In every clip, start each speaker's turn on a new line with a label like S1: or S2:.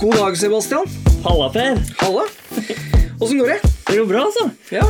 S1: God dag, Sebastian.
S2: Halla, Per.
S1: Halla. Åssen går det?
S2: Det går bra, altså.
S1: Ja.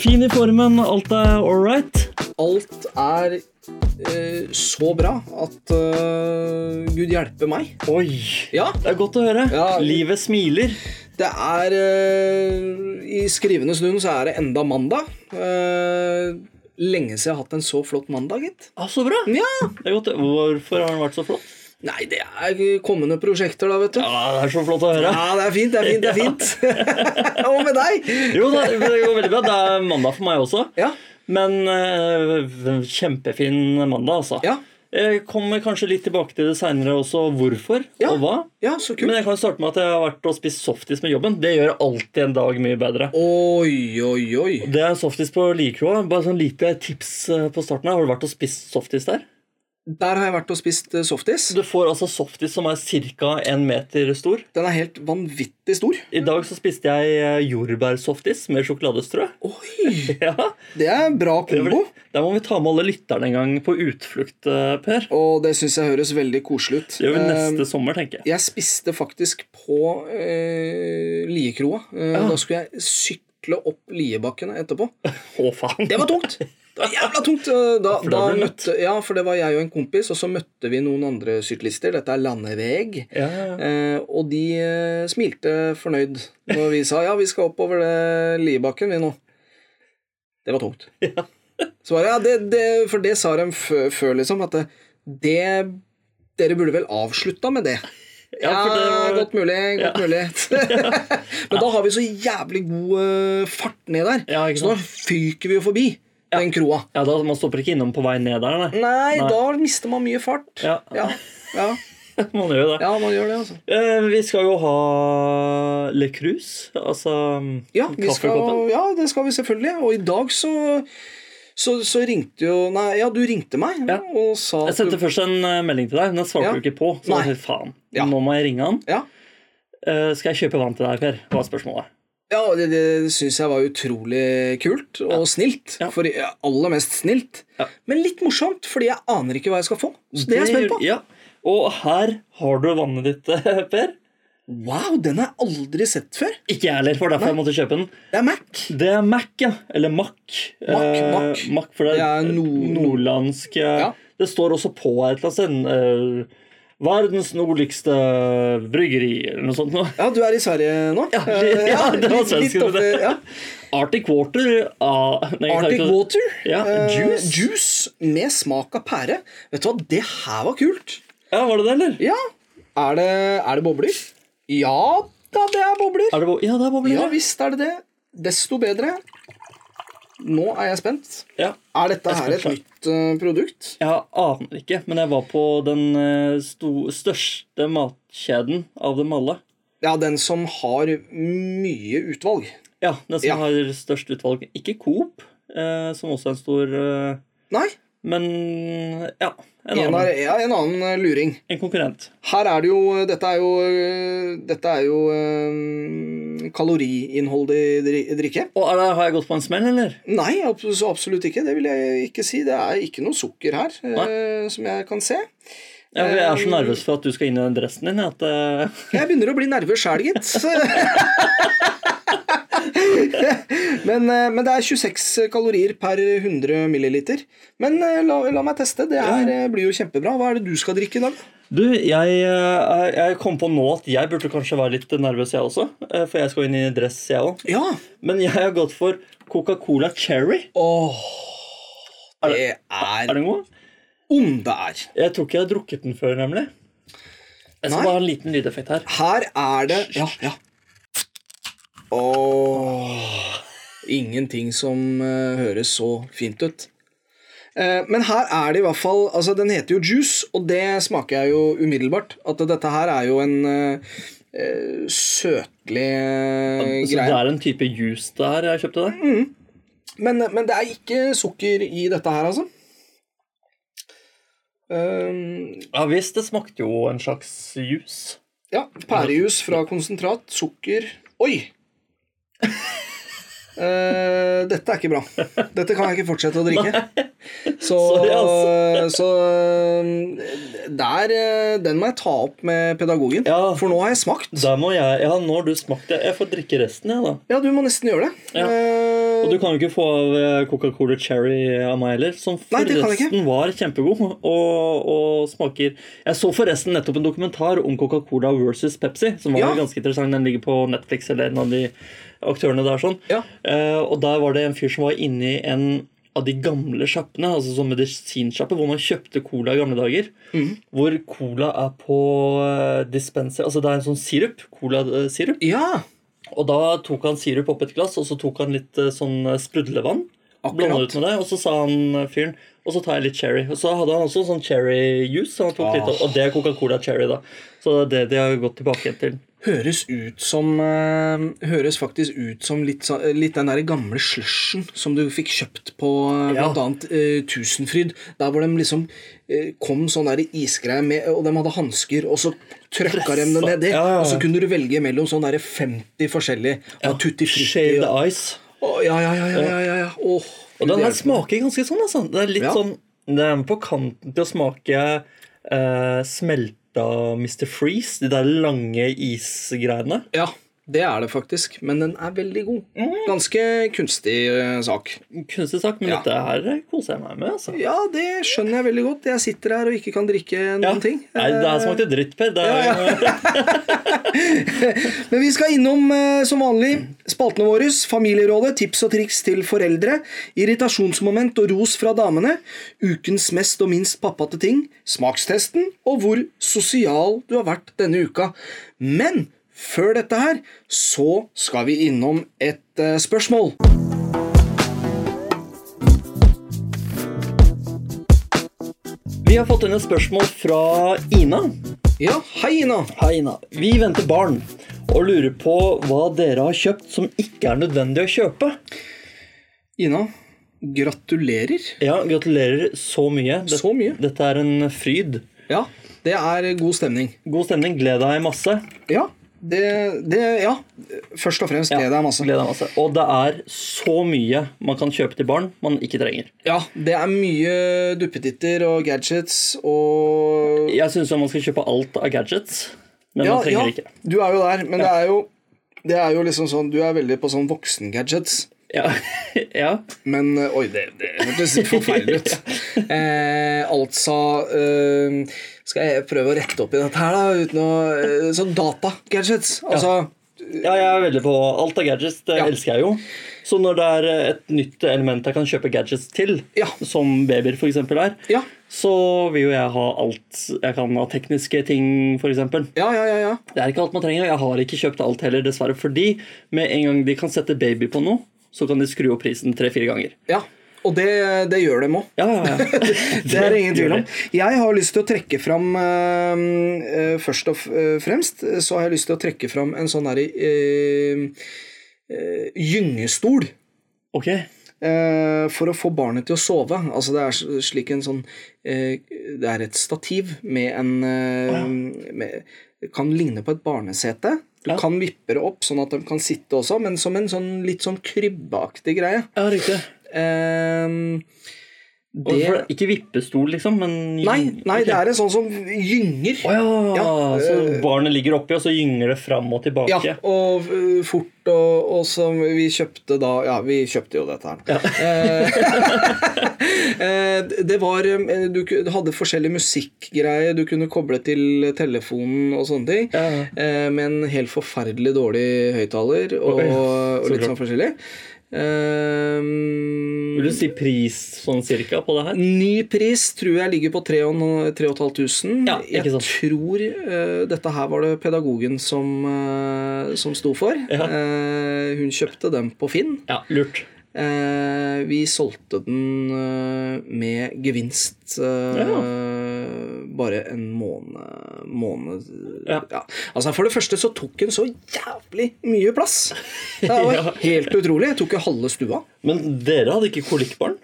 S2: Fin i formen, alt er all right.
S1: Alt er eh, så bra at eh, Gud hjelpe meg.
S2: Oi.
S1: Ja.
S2: Det er godt å høre.
S1: Ja.
S2: Livet smiler.
S1: Det er eh, I skrivende stund så er det enda mandag. Eh, lenge siden jeg har hatt en så flott mandag, gitt.
S2: Ah, så bra.
S1: Ja.
S2: Det er godt. Hvorfor har den vært så flott?
S1: Nei, det er kommende prosjekter, da, vet du.
S2: Ja, Det er så flott å høre.
S1: Ja, det er fint, det er fint. det er fint. Og med deg?
S2: Jo da, det går veldig bra. Det er mandag for meg også.
S1: Ja.
S2: Men eh, kjempefin mandag, altså.
S1: Ja.
S2: Jeg kommer kanskje litt tilbake til det seinere også, hvorfor
S1: Ja.
S2: og hva.
S1: ja, så kult.
S2: Men jeg kan starte med at jeg har vært og spist softis med jobben. Det gjør alltid en dag mye bedre.
S1: Oi, oi, oi.
S2: Det er softis på Likroa. Bare sånn lite tips eh, på starten her. Har du vært og spist softis der?
S1: Der har jeg vært og spist eh, softis.
S2: Du får altså softis som er ca. en meter stor.
S1: Den er helt vanvittig stor.
S2: I dag så spiste jeg eh, jordbærsoftis med sjokoladestrø.
S1: Oi!
S2: Ja,
S1: Det er en bra
S2: det var
S1: kombo.
S2: litt- Der må vi ta med alle lytterne en gang på utflukt, eh, Per.
S1: Og det syns jeg høres veldig koselig ut.
S2: Det gjør vi
S1: Eh,
S2: neste sommer, tenker jeg.
S1: Jeg spiste faktisk på eh, Liekroa. Eh, Da skulle jeg sykle opp Liebakkene etterpå.
S2: Å, faen.
S1: Det var tungt! Det var jævla tungt! Eh, Da,
S2: For da
S1: da
S2: ble du
S1: møtte, ja, for det var jeg og en kompis, og så møtte vi noen andre syklister. Dette er landeveg.
S2: Ja, ja, ja.
S1: Eh, og de eh, smilte fornøyd når vi sa ja, vi skal oppover det Liebakken vi nå. Det var tungt.
S2: Ja.
S1: Svaret ja, det, det, for det sa de f- før, liksom, at det, det Dere burde vel avslutta med det. Ja,
S2: Ja, for det var-
S1: godt mulig. Godt mulig. Men da har vi så jævlig god eh, fart ned der,
S2: Ja, ikke
S1: så da fyker vi jo forbi den kroa.
S2: ja da, man stopper ikke innom på vei ned der, nei.
S1: Nei, da mister man mye fart.
S2: Ja.
S1: Mm. ja, ja,
S2: Man gjør jo det.
S1: ja man gjør det, altså.
S2: Eh, vi skal jo ha eh, Le Cruz, altså
S1: Ja, vi
S2: kaffekoppen.
S1: skal, ja, det skal vi selvfølgelig. Og i dag så, så, så ringte jo Nei, ja, du ringte meg
S2: Ja.
S1: og sa
S2: Jeg
S1: at du
S2: sendte først en eh, melding til deg, men den svarte
S1: Ja.
S2: du ikke på. Så
S1: Nei.
S2: jeg tenkte, faen,
S1: Ja.
S2: nå må jeg ringe han.
S1: Ja,
S2: Eh, skal jeg kjøpe vann til deg, Per? Var spørsmålet.
S1: ja og det, det syns jeg var utrolig kult og snilt.
S2: Ja.
S1: For ja, aller mest snilt.
S2: Ja.
S1: Men litt morsomt, fordi jeg aner ikke hva jeg skal få. Så det er jeg spent på.
S2: Ja. Og her har du vannet ditt, Per.
S1: Wow, den har jeg aldri sett før.
S2: Ikke jeg heller, for derfor jeg måtte kjøpe den.
S1: Det er Mac.
S2: Det er Mac, ja. Eller Mac.
S1: Mac,
S2: Eh,
S1: Mac.
S2: Mac for det,
S1: Det
S2: er
S1: er nord-
S2: nordlandsk eh,
S1: Ja.
S2: Det står også på her et eller annet sted. eh, verdens nordligste bryggeri, eller noe sånt. noe.
S1: Ja, du er i Sverige nå?
S2: Ja,
S1: Eh,
S2: ja, det
S1: litt-
S2: var
S1: litt
S2: svensken, det.
S1: ofte, ja.
S2: Arctic Water ah, nei, jeg har
S1: Arctic
S2: ikke-
S1: Water.
S2: Ja,
S1: eh,
S2: juice.
S1: juice med smak av pære. Vet du hva, det her var kult.
S2: Ja, Var det det, eller?
S1: Ja. Er det, er det bobler? Ja da, det er bobler.
S2: Er det, bo- ja, det er bobler.
S1: Ja visst er det det. Desto bedre. Nå er jeg spent.
S2: Ja.
S1: Er dette her
S2: Jeg
S1: et
S2: skal
S1: nytt eh, produkt?
S2: Jeg aner ikke, men jeg var på den eh, sto, største matkjeden av dem alle.
S1: Ja, den som har mye utvalg.
S2: Ja, den som
S1: Ja.
S2: har størst utvalg. Ikke Coop, eh, som også er en stor eh,
S1: Nei,
S2: Men ja,
S1: en,
S2: en
S1: er,
S2: annen.
S1: ja, en annen eh, luring.
S2: En konkurrent.
S1: Her er det jo Dette er jo, eh, dette er jo eh, kaloriinnholdig dri- drikke.
S2: Og er det, har jeg gått på en smell, eller?
S1: Nei, ab- så absolutt ikke. Det vil jeg ikke si. Det er ikke noe sukker her, eh, som jeg kan se.
S2: Ja, for jeg er
S1: Eh.
S2: så nervøs for at du skal inn i den dressen din. At, eh,
S1: Jeg begynner å bli nervøs sjæl, gitt. Så- men, eh, men det er 26 kalorier per 100 milliliter. Men eh, la, la meg teste. Det her eh, blir jo kjempebra. Hva er det du skal drikke i dag?
S2: du, jeg, eh, jeg kom på nå at jeg burde kanskje være litt nervøs, jeg også. eh, For jeg skal inn i dress, jeg òg.
S1: Ja.
S2: Men jeg har gått for Coca-Cola Cherry.
S1: Åh, det
S2: Er
S1: er
S2: den god?
S1: om det er.
S2: Jeg tror ikke jeg har drukket den før, nemlig. Jeg skal
S1: Nei.
S2: bare ha en liten lydeffekt her.
S1: Her er det Ja, ja. Åh, ingenting som eh, høres så fint ut. Eh, men her er det i hvert fall altså Den heter jo juice, og det smaker jeg jo umiddelbart. At dette her er jo en eh, eh, søtlig eh, Mm.
S2: Så det
S1: greie.
S2: er en type juice det her jeg kjøpte der?
S1: Men, eh, men det er ikke sukker i dette her, altså. Eh,
S2: Ja visst, det smakte jo en slags juice.
S1: Ja, pærejus fra konsentrat, sukker Oi! Eh, Eh, dette er ikke bra. Dette kan jeg ikke fortsette å drikke. Så,
S2: Sorry,
S1: så eh, der, eh, den må jeg ta opp med pedagogen.
S2: Ja.
S1: For nå har jeg smakt.
S2: Da må jeg Ja, nå har du smakt det. Jeg får drikke resten, jeg, da.
S1: Ja, du må nesten gjøre det.
S2: Ja.
S1: Eh,
S2: Og du kan jo ikke få av eh, Coca-Cola Cherry av meg heller, som
S1: Nei, det kan jeg ikke.
S2: forresten var kjempegod og, og smaker Jeg så forresten nettopp en dokumentar om Coca-Cola versus Pepsi, som var
S1: Ja.
S2: ganske interessant. Den ligger på Netflix eller en av de aktørene der. sånn.
S1: Ja.
S2: Eh, og der var det en fyr som var inni en av de gamle sjappene, altså sånn medisinsjappe, hvor man kjøpte cola i gamle dager.
S1: Mhm.
S2: Hvor cola er på eh, dispenser Altså det er en sånn sirup. Cola-sirup.
S1: ja.
S2: Og da tok han sirup oppi et glass, og så tok han litt eh, sånn eh, sprudlevann.
S1: Akkurat.
S2: Blanda ut med det, og så sa han eh, fyren Og så tar jeg litt cherry. Og så hadde han også sånn cherry juice, så han tok litt,
S1: Ah.
S2: av- og det er Coca-Cola cherry, da. Så det er det de har gått tilbake igjen til.
S1: Høres ut som eh, Høres faktisk ut som litt, så- litt den der gamle slushen som du fikk kjøpt på eh,
S2: Ja.
S1: blant annet eh, Tusenfryd. Der hvor de liksom eh, kom sånn der isgreier med, og de hadde hansker, og så trøkka de det nedi.
S2: Ja, ja, ja.
S1: Og så kunne du velge mellom sånn der 50 forskjellige. Ja. Tutti Frutti
S2: Shave the
S1: og-
S2: ice.
S1: Å, Ja, ja, ja. ja, ja, ja, ja. Åh,
S2: Og den
S1: Gud
S2: her
S1: hjelpe meg.
S2: smaker ganske sånn, altså. Det er litt
S1: Ja.
S2: sånn Det er på kanten til å smake eh, smelta Mr. Freeze, de der lange isgreiene.
S1: Ja, det er det faktisk. Men den er veldig god.
S2: Mm.
S1: Ganske kunstig eh, sak.
S2: Kunstig sagt, men
S1: Ja.
S2: dette her koser jeg meg med, altså.
S1: Ja, det skjønner jeg veldig godt. Jeg sitter her og ikke kan drikke noen ting. eh,
S2: Nei, det her smakte dritt, Per. Det er,
S1: Men vi skal innom eh, som vanlig spaltene våre. Familierådet, tips og triks til foreldre. Irritasjonsmoment og ros fra damene. Ukens mest og minst pappate ting. Smakstesten. Og hvor sosial du har vært denne uka. Men før dette her så skal vi innom et eh, spørsmål.
S2: Vi har fått inn et spørsmål fra Ina.
S1: Ja, hei, Ina.
S2: Hei, Ina. Vi venter barn og lurer på hva dere har kjøpt som ikke er nødvendig å kjøpe.
S1: Ina, gratulerer.
S2: Ja, gratulerer så mye. Det-
S1: Så mye.
S2: Dette er en fryd.
S1: Ja, det er god stemning.
S2: God stemning. Gled deg masse.
S1: Ja, det, det Ja, først og fremst gleder jeg masse.
S2: Gled deg masse. Og det er så mye man kan kjøpe til barn man ikke trenger.
S1: Ja, det er mye duppeditter og gadgets og
S2: Jeg syns man skal kjøpe alt av gadgets, men
S1: Ja,
S2: man trenger
S1: ja
S2: ikke.
S1: du er jo der, men det er jo det er jo liksom sånn, Du er veldig på sånn voksengadgets,
S2: Ja. ja.
S1: men eh, Oi, det, det hørtes forferdelig ut. Eh, altså eh, Skal jeg prøve å rette opp i dette her, da? Uten å eh, Sånn datagadgets. Altså
S2: Ja, jeg er veldig på alt av gadgets. Det
S1: Ja.
S2: elsker jeg jo. Så når det er et nytt element jeg kan kjøpe gadgets til,
S1: Ja.
S2: som babyer f.eks. er,
S1: Ja.
S2: så vil jo jeg ha alt jeg kan ha tekniske ting, f.eks.
S1: Ja, ja, ja. ja.
S2: Det er ikke alt man trenger. Jeg har ikke kjøpt alt heller, dessverre. Fordi med en gang de kan sette baby på noe, så kan de skru opp prisen tre-fire ganger.
S1: ja. Og det, det gjør dem òg.
S2: Ja, ja, ja.
S1: Det er det ingen tvil om.
S2: gjør det.
S1: Jeg har lyst til å trekke fram eh, eh, Først og f- eh, fremst så har jeg lyst til å trekke fram en sånn derre eh, eh, gyngestol.
S2: Ok.
S1: eh, for å få barnet til å sove. Altså det er s- slik en sånn eh, Det er et stativ med en eh, med, det Kan ligne på et barnesete. Du
S2: Ja.
S1: kan vippe det opp sånn at de kan sitte også, men som en sånn litt sånn krybbeaktig greie.
S2: Ja, riktig.
S1: Eh,
S2: Og for- Ikke vippestol, liksom, men
S1: Nei, nei det er en sånn som gynger.
S2: Å ja.
S1: Ja, eh,
S2: Så barnet ligger oppi, og så gynger det fram og tilbake.
S1: Ja, og ø, fort, og, og som vi kjøpte da Ja, vi kjøpte jo dette her. Eh, eh, det var eh, Du ku- hadde forskjellig musikkgreier du kunne koble til telefonen og sånne ting.
S2: Ja, ja.
S1: eh, Med en helt forferdelig dårlig høyttaler og,
S2: Oi,
S1: og
S2: så
S1: litt
S2: klart.
S1: sånn forskjellig.
S2: Vil
S1: Eh,
S2: du si pris sånn cirka på det her?
S1: Ny pris tror jeg ligger på 3500.
S2: Ja, ikke
S1: jeg
S2: sant.
S1: tror eh, dette her var det pedagogen som, eh, som sto for.
S2: Ja.
S1: Eh, hun kjøpte den på Finn.
S2: Ja, lurt.
S1: Eh, vi solgte den eh, med gevinst eh, bare en måned, måned
S2: Ja.
S1: Altså For det første så tok den så jævlig mye plass. Det var
S2: Ja.
S1: helt utrolig. Jeg tok jo halve stua.
S2: Men dere hadde ikke kolikkbarn?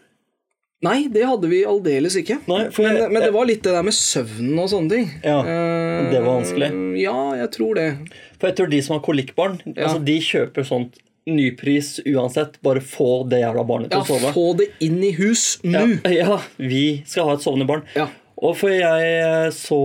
S1: Nei, det hadde vi aldeles ikke.
S2: Nei, for
S1: men,
S2: jeg-
S1: men det var litt det der med søvnen og sånne ting.
S2: Ja,
S1: Eh,
S2: det var vanskelig.
S1: Ja, jeg tror det.
S2: For jeg tror de som har kolikkbarn, altså de kjøper sånt Nypris uansett. Bare få det jævla barnet til
S1: Ja,
S2: å sove.
S1: få det inn i hus nå!
S2: Ja, ja, vi skal ha et sovende barn.
S1: Ja.
S2: Og for jeg eh, så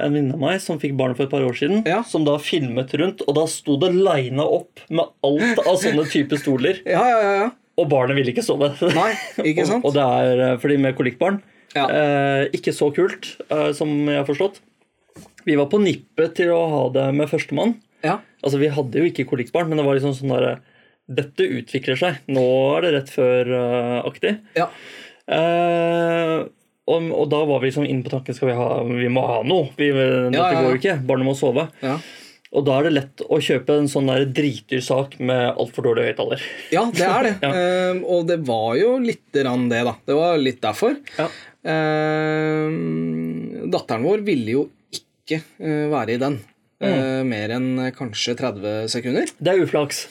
S2: en venninne av meg som fikk barn for et par år siden,
S1: Ja.
S2: som da filmet rundt, og da sto det lina opp med alt av sånne type stoler,
S1: Ja, ja, ja. ja.
S2: og barnet ville ikke sove.
S1: Nei, ikke sant?
S2: og, og det er eh, fordi med kolikkbarn
S1: Ja.
S2: eh, ikke så kult, eh, som jeg har forstått. Vi var på nippet til å ha det med førstemann.
S1: ja.
S2: Altså, vi hadde jo ikke kolikkbarn, men det var liksom sånn der eh, Dette utvikler seg. Nå er det rett før-aktig.
S1: ja.
S2: Eh, og, og da var vi liksom inne på tanken skal vi ha, vi må ha noe. Vi, dette
S1: Ja, ja, ja.
S2: går jo ikke. Barnet må sove.
S1: ja.
S2: Og da er det lett å kjøpe en sånn der dritdyr sak med altfor dårlig høyttaler.
S1: Ja, det er det.
S2: Ja.
S1: Ehm, og det var jo lite grann det, da. Det var litt derfor.
S2: Ja.
S1: Ehm, datteren vår ville jo ikke eh, være i den. eh,
S2: Mm.
S1: mer enn eh, kanskje 30 sekunder.
S2: Det er uflaks.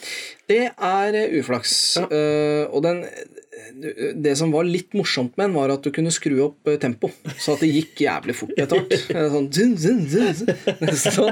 S1: Det er eh, uflaks.
S2: Ja.
S1: Eh, og den, det som var litt morsomt med den, var at du kunne skru opp eh, tempo, så at det gikk jævlig fort etter hvert. Eh, Sånn, zun, zun, zun, zun. så,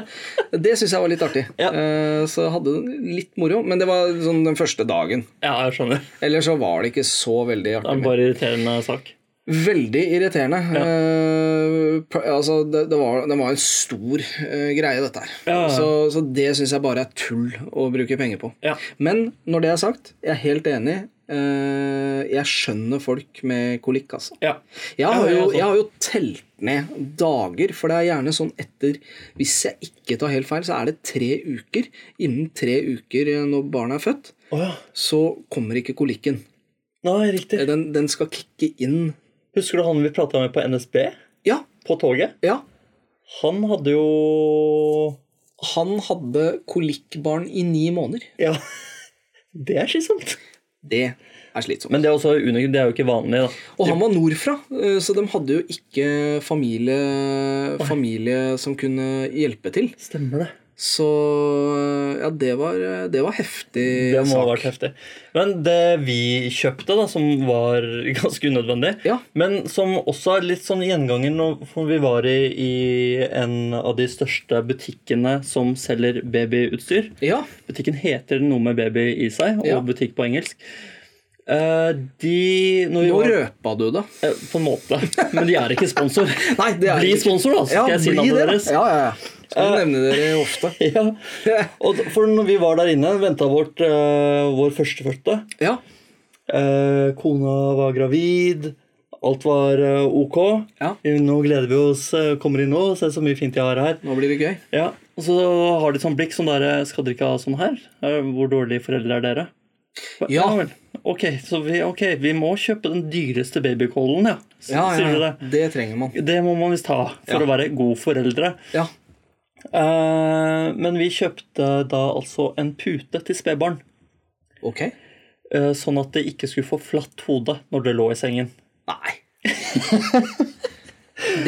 S1: det syns jeg var litt artig.
S2: Ja.
S1: Eh, så hadde den litt moro. Men det var sånn den første dagen.
S2: Ja, jeg skjønner.
S1: Eller så var det ikke så veldig
S2: Det
S1: artig.
S2: er
S1: med.
S2: bare irriterende sak.
S1: Veldig irriterende. Eh, pr- altså, det, det, var, det var en stor eh, greie, dette her.
S2: Ja.
S1: Så, så det syns jeg bare er tull å bruke penger på.
S2: Ja.
S1: Men når det er sagt, jeg er helt enig. Eh, jeg skjønner folk med kolikk, altså.
S2: Ja.
S1: Jeg har,
S2: Ja, ja,
S1: jo,
S2: sånn.
S1: jeg har jo telt ned dager, for det er gjerne sånn etter Hvis jeg ikke tar helt feil, så er det tre uker. Innen tre uker eh, når barnet er født,
S2: Å ja.
S1: så kommer ikke kolikken.
S2: Nei, riktig.
S1: Den, den skal kicke inn
S2: Husker du han vi prata med på NSB?
S1: Ja,
S2: På toget?
S1: ja.
S2: Han hadde jo
S1: Han hadde kolikkbarn i ni måneder.
S2: Ja. Det er slitsomt.
S1: Det er slitsomt.
S2: Men det er, også, unik- det er jo ikke vanlig, da.
S1: Og han var nordfra, eh, så de hadde jo ikke familie, familie som kunne hjelpe til.
S2: Stemmer det.
S1: Så eh, ja, det var, det var heftig
S2: Det må ha
S1: sak.
S2: vært heftig. Men det vi kjøpte, da, som var ganske unødvendig,
S1: Ja.
S2: men som også er litt sånn gjenganger nå, for vi var i, i en av de største butikkene som selger babyutstyr.
S1: Ja,
S2: Butikken heter noe med baby i seg, og
S1: Ja.
S2: butikk på engelsk. Eh, de når vi
S1: Nå
S2: var,
S1: røpa du det.
S2: eh, På en måte. Men de er ikke sponsor.
S1: Nei, det er
S2: Bli
S1: ikke-
S2: sponsor, da, så skal jeg si
S1: bli
S2: navnet
S1: det, da.
S2: deres. Eh.
S1: Ja, ja, ja. Skal vi nevne dere ofte.
S2: Ja. Og d- for når vi var der inne, venta vårt, eh, vår førstefødte.
S1: Ja,
S2: Eh, kona var gravid. Alt var eh, ok.
S1: Ja.
S2: Nå gleder vi oss. eh, Kommer inn nå, se så mye fint jeg har her.
S1: nå blir det gøy.
S2: Ja, Og så har de sånn blikk som dere Skal dere ikke ha sånn her? Eh, Hvor dårlige foreldre er dere?
S1: Ja.
S2: vel. Ok, så vi, ok, vi må kjøpe den dyreste babycallen, ja. S-
S1: Ja,
S2: Sier
S1: ja, ja.
S2: dere.
S1: Det trenger man.
S2: Det må man visst ha for
S1: Ja.
S2: å være gode foreldre.
S1: Ja,
S2: Eh, men vi kjøpte da altså en pute til spedbarn.
S1: ok.
S2: eh, Sånn at det ikke skulle få flatt hode når det lå i sengen.
S1: Nei.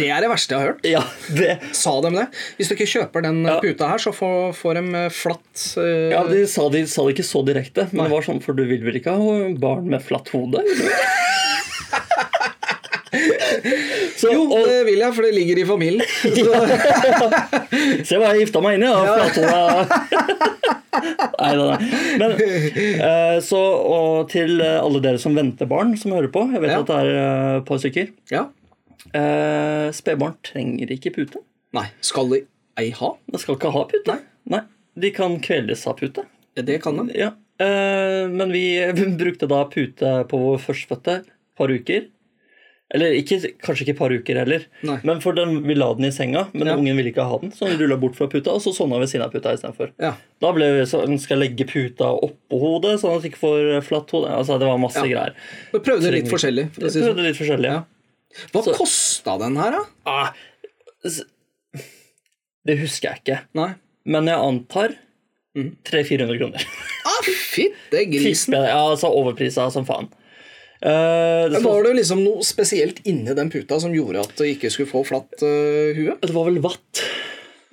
S1: det er det verste jeg har hørt.
S2: Ja, det,
S1: Sa de det? Hvis du ikke kjøper den eh,
S2: Ja.
S1: puta her, så får, får de eh, flatt eh,
S2: Ja, de sa, de sa det ikke så direkte, men det var sånn, for du vil vel ikke ha barn med flatt hode? vil du? så,
S1: Jo,
S2: og,
S1: det vil jeg, for det ligger i familien. Så,
S2: se hva jeg gifta meg inn i, da! Flathoda. nei, nei, nei. Men, eh, så, og til eh, alle dere som venter barn, som hører på. Jeg vet
S1: Ja.
S2: at det er eh, et par stykker.
S1: ja.
S2: Eh, Spedbarn trenger ikke pute.
S1: Nei. Skal de ei ha?
S2: De skal ikke ha pute. Nei. De kan kveles av pute.
S1: Ja, Det kan de.
S2: Ja, eh, men vi brukte da pute på vår førstefødte par uker. Eller ikke, kanskje ikke par uker heller,
S1: Nei.
S2: men for den, vi la den i senga. Men
S1: Ja.
S2: ungen ville ikke ha den, så den rulla bort fra puta, og så sovna ved siden av puta istedenfor.
S1: Ja.
S2: Da ble vi sånn skal jeg legge puta oppå hodet, sånn at vi ikke får flatt hode. Altså, det var masse
S1: Ja.
S2: greier.
S1: Vi prøvde litt
S2: Trenger-
S1: forskjellig. For å si
S2: Vi
S1: det sånn.
S2: prøvde litt forskjellig.
S1: Ja. Hva kosta den her, da?
S2: Ah, s- det husker jeg ikke,
S1: Nei.
S2: men jeg antar
S1: Mhm.
S2: 300-400 kroner.
S1: Ah, Fitte grisen.
S2: Tipper jeg det. Ja, altså overprisa som faen. Eh,
S1: Var
S2: det, var,
S1: det liksom noe spesielt inni den puta som gjorde at det ikke skulle få flatt eh, hue?
S2: det var vel vatt.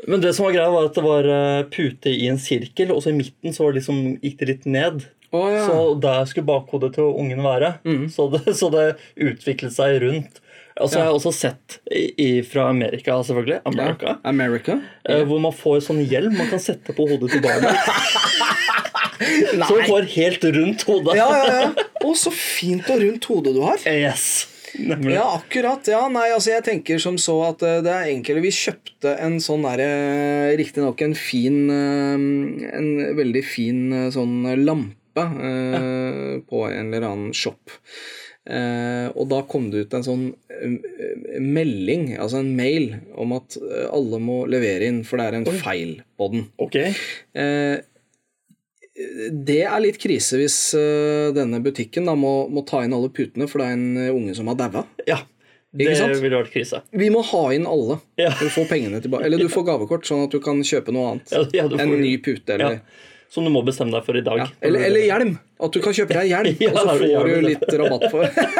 S2: Men det som var greia, var at det var eh, pute i en sirkel, og så i midten så var det liksom, gikk det litt ned.
S1: Å, ja. Mm.
S2: Så der skulle bakhodet til ungen være. Så, det, så det utviklet seg rundt. Og så har jeg også sett i, i, fra Amerika, selvfølgelig, America,
S1: America?
S2: eh, hvor man får sånn hjelm man kan sette på hodet til barnet. Som går helt rundt hodet.
S1: Ja, ja, ja. Å, så fint og rundt hode du har.
S2: Yes. Nemlig.
S1: Ja, akkurat. Ja, nei, altså jeg tenker som så at eh, det er enkelte Vi kjøpte en sånn derre Riktignok en fin eh, En veldig fin eh, sånn lampe eh, på en eller annen shop. Eh, og da kom det ut en sånn eh, melding, altså en mail, om at eh, alle må levere inn, for det er en feil på den.
S2: Ok.
S1: Eh, det er litt krise hvis eh, denne butikken da må, må ta inn alle putene, for det er en eh, unge som har daua.
S2: Ja. Det
S1: Ikke sant?
S2: ville vært krise.
S1: Vi må ha inn alle.
S2: Ja.
S1: Du får pengene tilbake. Eller du får gavekort, sånn at du kan kjøpe noe annet.
S2: Ja, ja, du
S1: en
S2: får-
S1: ny pute
S2: Ja.
S1: eller,
S2: Som du må bestemme deg for i dag.
S1: ja. eller Eller hjelm. At du kan kjøpe deg hjelm,
S2: Ja,
S1: og så
S2: da
S1: får
S2: gjør
S1: du
S2: du det.
S1: litt rabatt for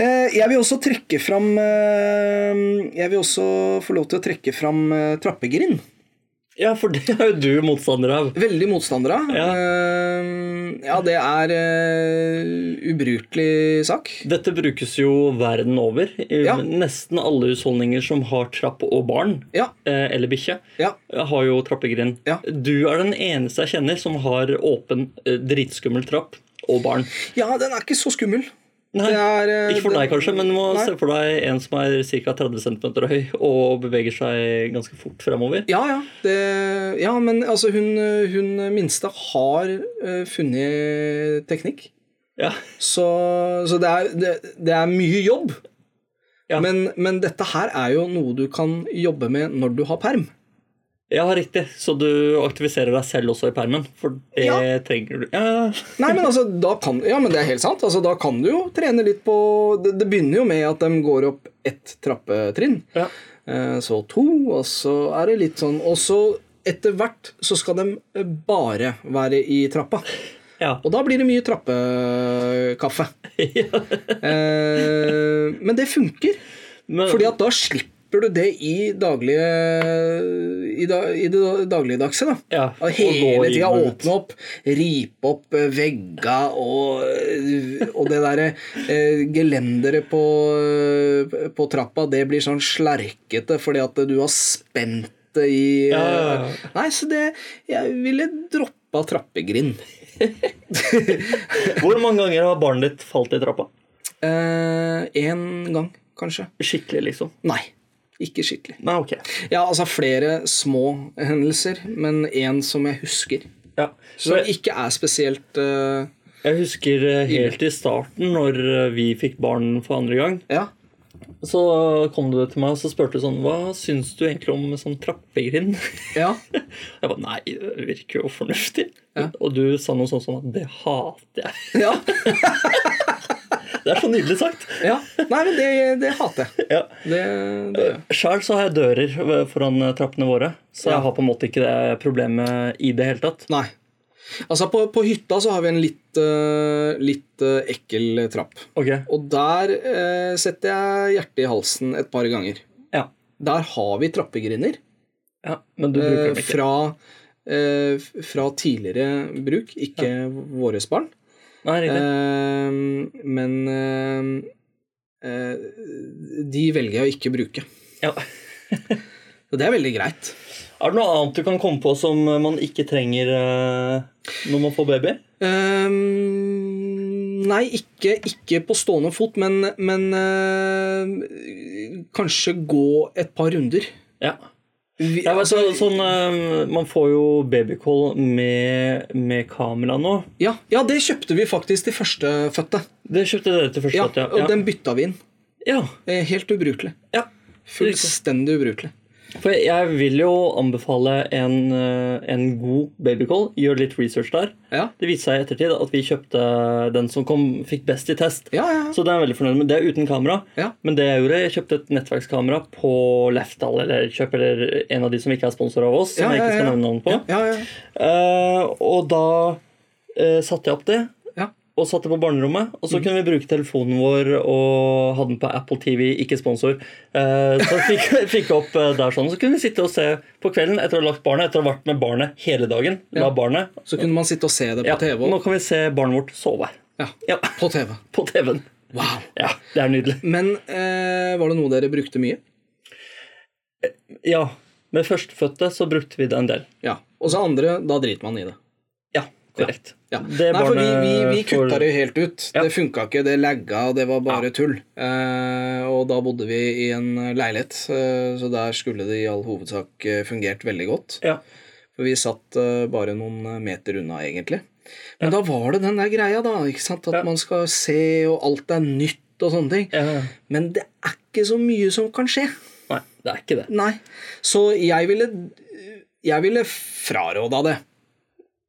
S1: Eh, Jeg vil også trekke fram eh, Jeg vil også få lov til å trekke fram eh, trappegrind.
S2: Ja, for det er jo du motstander av.
S1: Veldig motstander av.
S2: Ja.
S1: Eh, ja, det er eh, ubrukelig sak.
S2: Dette brukes jo verden over. I
S1: Ja.
S2: Nesten alle husholdninger som har trapp og barn,
S1: Ja,
S2: eh, eller bikkje,
S1: ja.
S2: har jo trappegrind.
S1: Ja.
S2: Du er den eneste jeg kjenner som har åpen, eh, dritskummel trapp og barn.
S1: ja, den er ikke så skummel.
S2: Nei,
S1: Det er, eh,
S2: Ikke for deg,
S1: det-
S2: kanskje, men du må
S1: Nei.
S2: se for deg en som er ca. 30 cm høy og beveger seg ganske fort fremover.
S1: Ja, ja. Det, ja men altså, hun, hun minste har eh, funnet teknikk.
S2: Ja.
S1: Så, så det, er, det, det er mye jobb.
S2: Ja.
S1: Men, men dette her er jo noe du kan jobbe med når du har perm.
S2: ja, riktig. Så du aktiviserer deg selv også i permen. For det
S1: Ja.
S2: trenger du. Ja.
S1: Nei, men altså, da kan, ja, men det er helt sant. Altså, da kan du jo trene litt på Det, det begynner jo med at de går opp ett trappetrinn.
S2: Ja.
S1: Eh, Så to, og så er det litt sånn Og så etter hvert så skal de eh, bare være i trappa.
S2: ja.
S1: Og da blir det mye trappekaffe. eh, men det funker,
S2: Men,
S1: Fordi at da slipper du det i daglige I, da, i det dagligdagse, da.
S2: Ja,
S1: Og
S2: og gå
S1: Hele
S2: inn
S1: tida
S2: og ut.
S1: åpne opp, ripe opp eh, vegga og, og det derre eh, gelenderet på, eh, på trappa, det blir sånn slerkete fordi at du har spent det i eh,
S2: Ja, ja, ja.
S1: Nei, så det Jeg ville droppa trappegrind.
S2: Hvor mange ganger har barnet ditt falt i trappa?
S1: Én Eh, gang, kanskje.
S2: Skikkelig, liksom.
S1: Nei, ikke skikkelig.
S2: Nei, ok.
S1: Ja, altså flere små hendelser, men én som jeg husker.
S2: Ja.
S1: Som
S2: Så jeg,
S1: ikke er spesielt eh,
S2: jeg husker eh, helt i starten, når eh, vi fikk barn for andre gang,
S1: Ja.
S2: så kom du til meg og så spurte du sånn Hva syns du egentlig om sånn trappegrind?
S1: ja.
S2: Jeg bare Nei, det virker jo fornuftig.
S1: Ja.
S2: Og du sa noe sånt som at det hater jeg.
S1: Ja.
S2: Det er så nydelig sagt.
S1: ja. Nei, men det, det hater jeg.
S2: Ja.
S1: Det, det gjør jeg.
S2: Sjøl så har jeg dører ved- foran eh, trappene våre, så
S1: Ja.
S2: jeg har på en måte ikke det problemet i det hele tatt.
S1: Nei. Altså, på, på hytta så har vi en litt, eh, litt eh, ekkel trapp.
S2: Ok,
S1: Og der eh, setter jeg hjertet i halsen et par ganger.
S2: ja.
S1: Der har vi trappegrinder
S2: ja. Men du bruker
S1: eh,
S2: dem ikke.
S1: fra, eh, f- fra tidligere bruk, ikke våres barn.
S2: Nei, riktig.
S1: Ehm, men ehm, eh, de velger jeg å ikke bruke.
S2: Ja.
S1: Og det er veldig greit.
S2: Er det noe annet du kan komme på som man ikke trenger eh, når man får baby?
S1: Ehm, Eh, nei, ikke, ikke på stående fot, men, men ehm, kanskje gå et par runder.
S2: Ja.
S1: Vi,
S2: Jeg vet,
S1: altså,
S2: så- sånn, eh, man får jo babycall med, med kamera nå.
S1: ja, ja, det kjøpte vi faktisk til førstefødte.
S2: Det kjøpte dere til
S1: Ja,
S2: første ja.
S1: og
S2: Ja.
S1: den bytta vi inn.
S2: ja.
S1: Eh, Helt ubrukelig.
S2: ja.
S1: Fullstendig ubrukelig.
S2: For jeg vil jo anbefale en, eh, en god babycall. Gjør litt research der.
S1: Ja,
S2: Det viste seg i ettertid at vi kjøpte den som kom, fikk best i test.
S1: ja, ja.
S2: Så det er jeg veldig fornøyd med. Det er uten kamera.
S1: Ja.
S2: Men det jeg gjorde, jeg kjøpte et nettverkskamera på Leftal, eller kjøp, eller en av de som ikke er sponsor av oss, som
S1: Ja,
S2: jeg
S1: ja,
S2: ikke skal
S1: ja.
S2: nevne navn på.
S1: ja, ja.
S2: Eh, og da eh, satte jeg opp det.
S1: ja.
S2: Og satte på barnerommet, og så
S1: Mhm.
S2: kunne vi bruke telefonen vår og ha den på Apple TV, ikke sponsor. Eh, så fikk, fikk opp eh, der sånn, så kunne vi sitte og se på kvelden etter å ha lagt barnet, etter å ha vært med barnet hele dagen. La barnet.
S1: Så kunne man sitte og se det på
S2: Ja,
S1: TV.
S2: nå kan vi se barnet vårt sove.
S1: Ja,
S2: Ja,
S1: på TV.
S2: på TV-en.
S1: Wow.
S2: Ja, det er nydelig.
S1: Men eh, var det noe dere brukte mye?
S2: Ja, Med førstefødte så brukte vi det en del.
S1: Ja. Og så andre, da driter man i det.
S2: Ja, korrekt.
S1: Ja.
S2: Det
S1: Nei, for vi, vi, vi
S2: barnet får-
S1: kutta det helt ut.
S2: Ja.
S1: Det funka ikke, det lagga, og det var bare tull. Eh, og da bodde vi i en leilighet, eh, så der skulle det i all hovedsak eh, fungert veldig godt.
S2: Ja.
S1: For vi satt eh, bare noen meter unna, egentlig. Men da var det den der greia, da. ikke sant? At
S2: Ja.
S1: man skal se, og alt er nytt og sånne ting.
S2: Ja.
S1: Men det er ikke så mye som kan skje.
S2: Nei, det er ikke det.
S1: Nei. Så jeg ville Jeg ville fraråda det.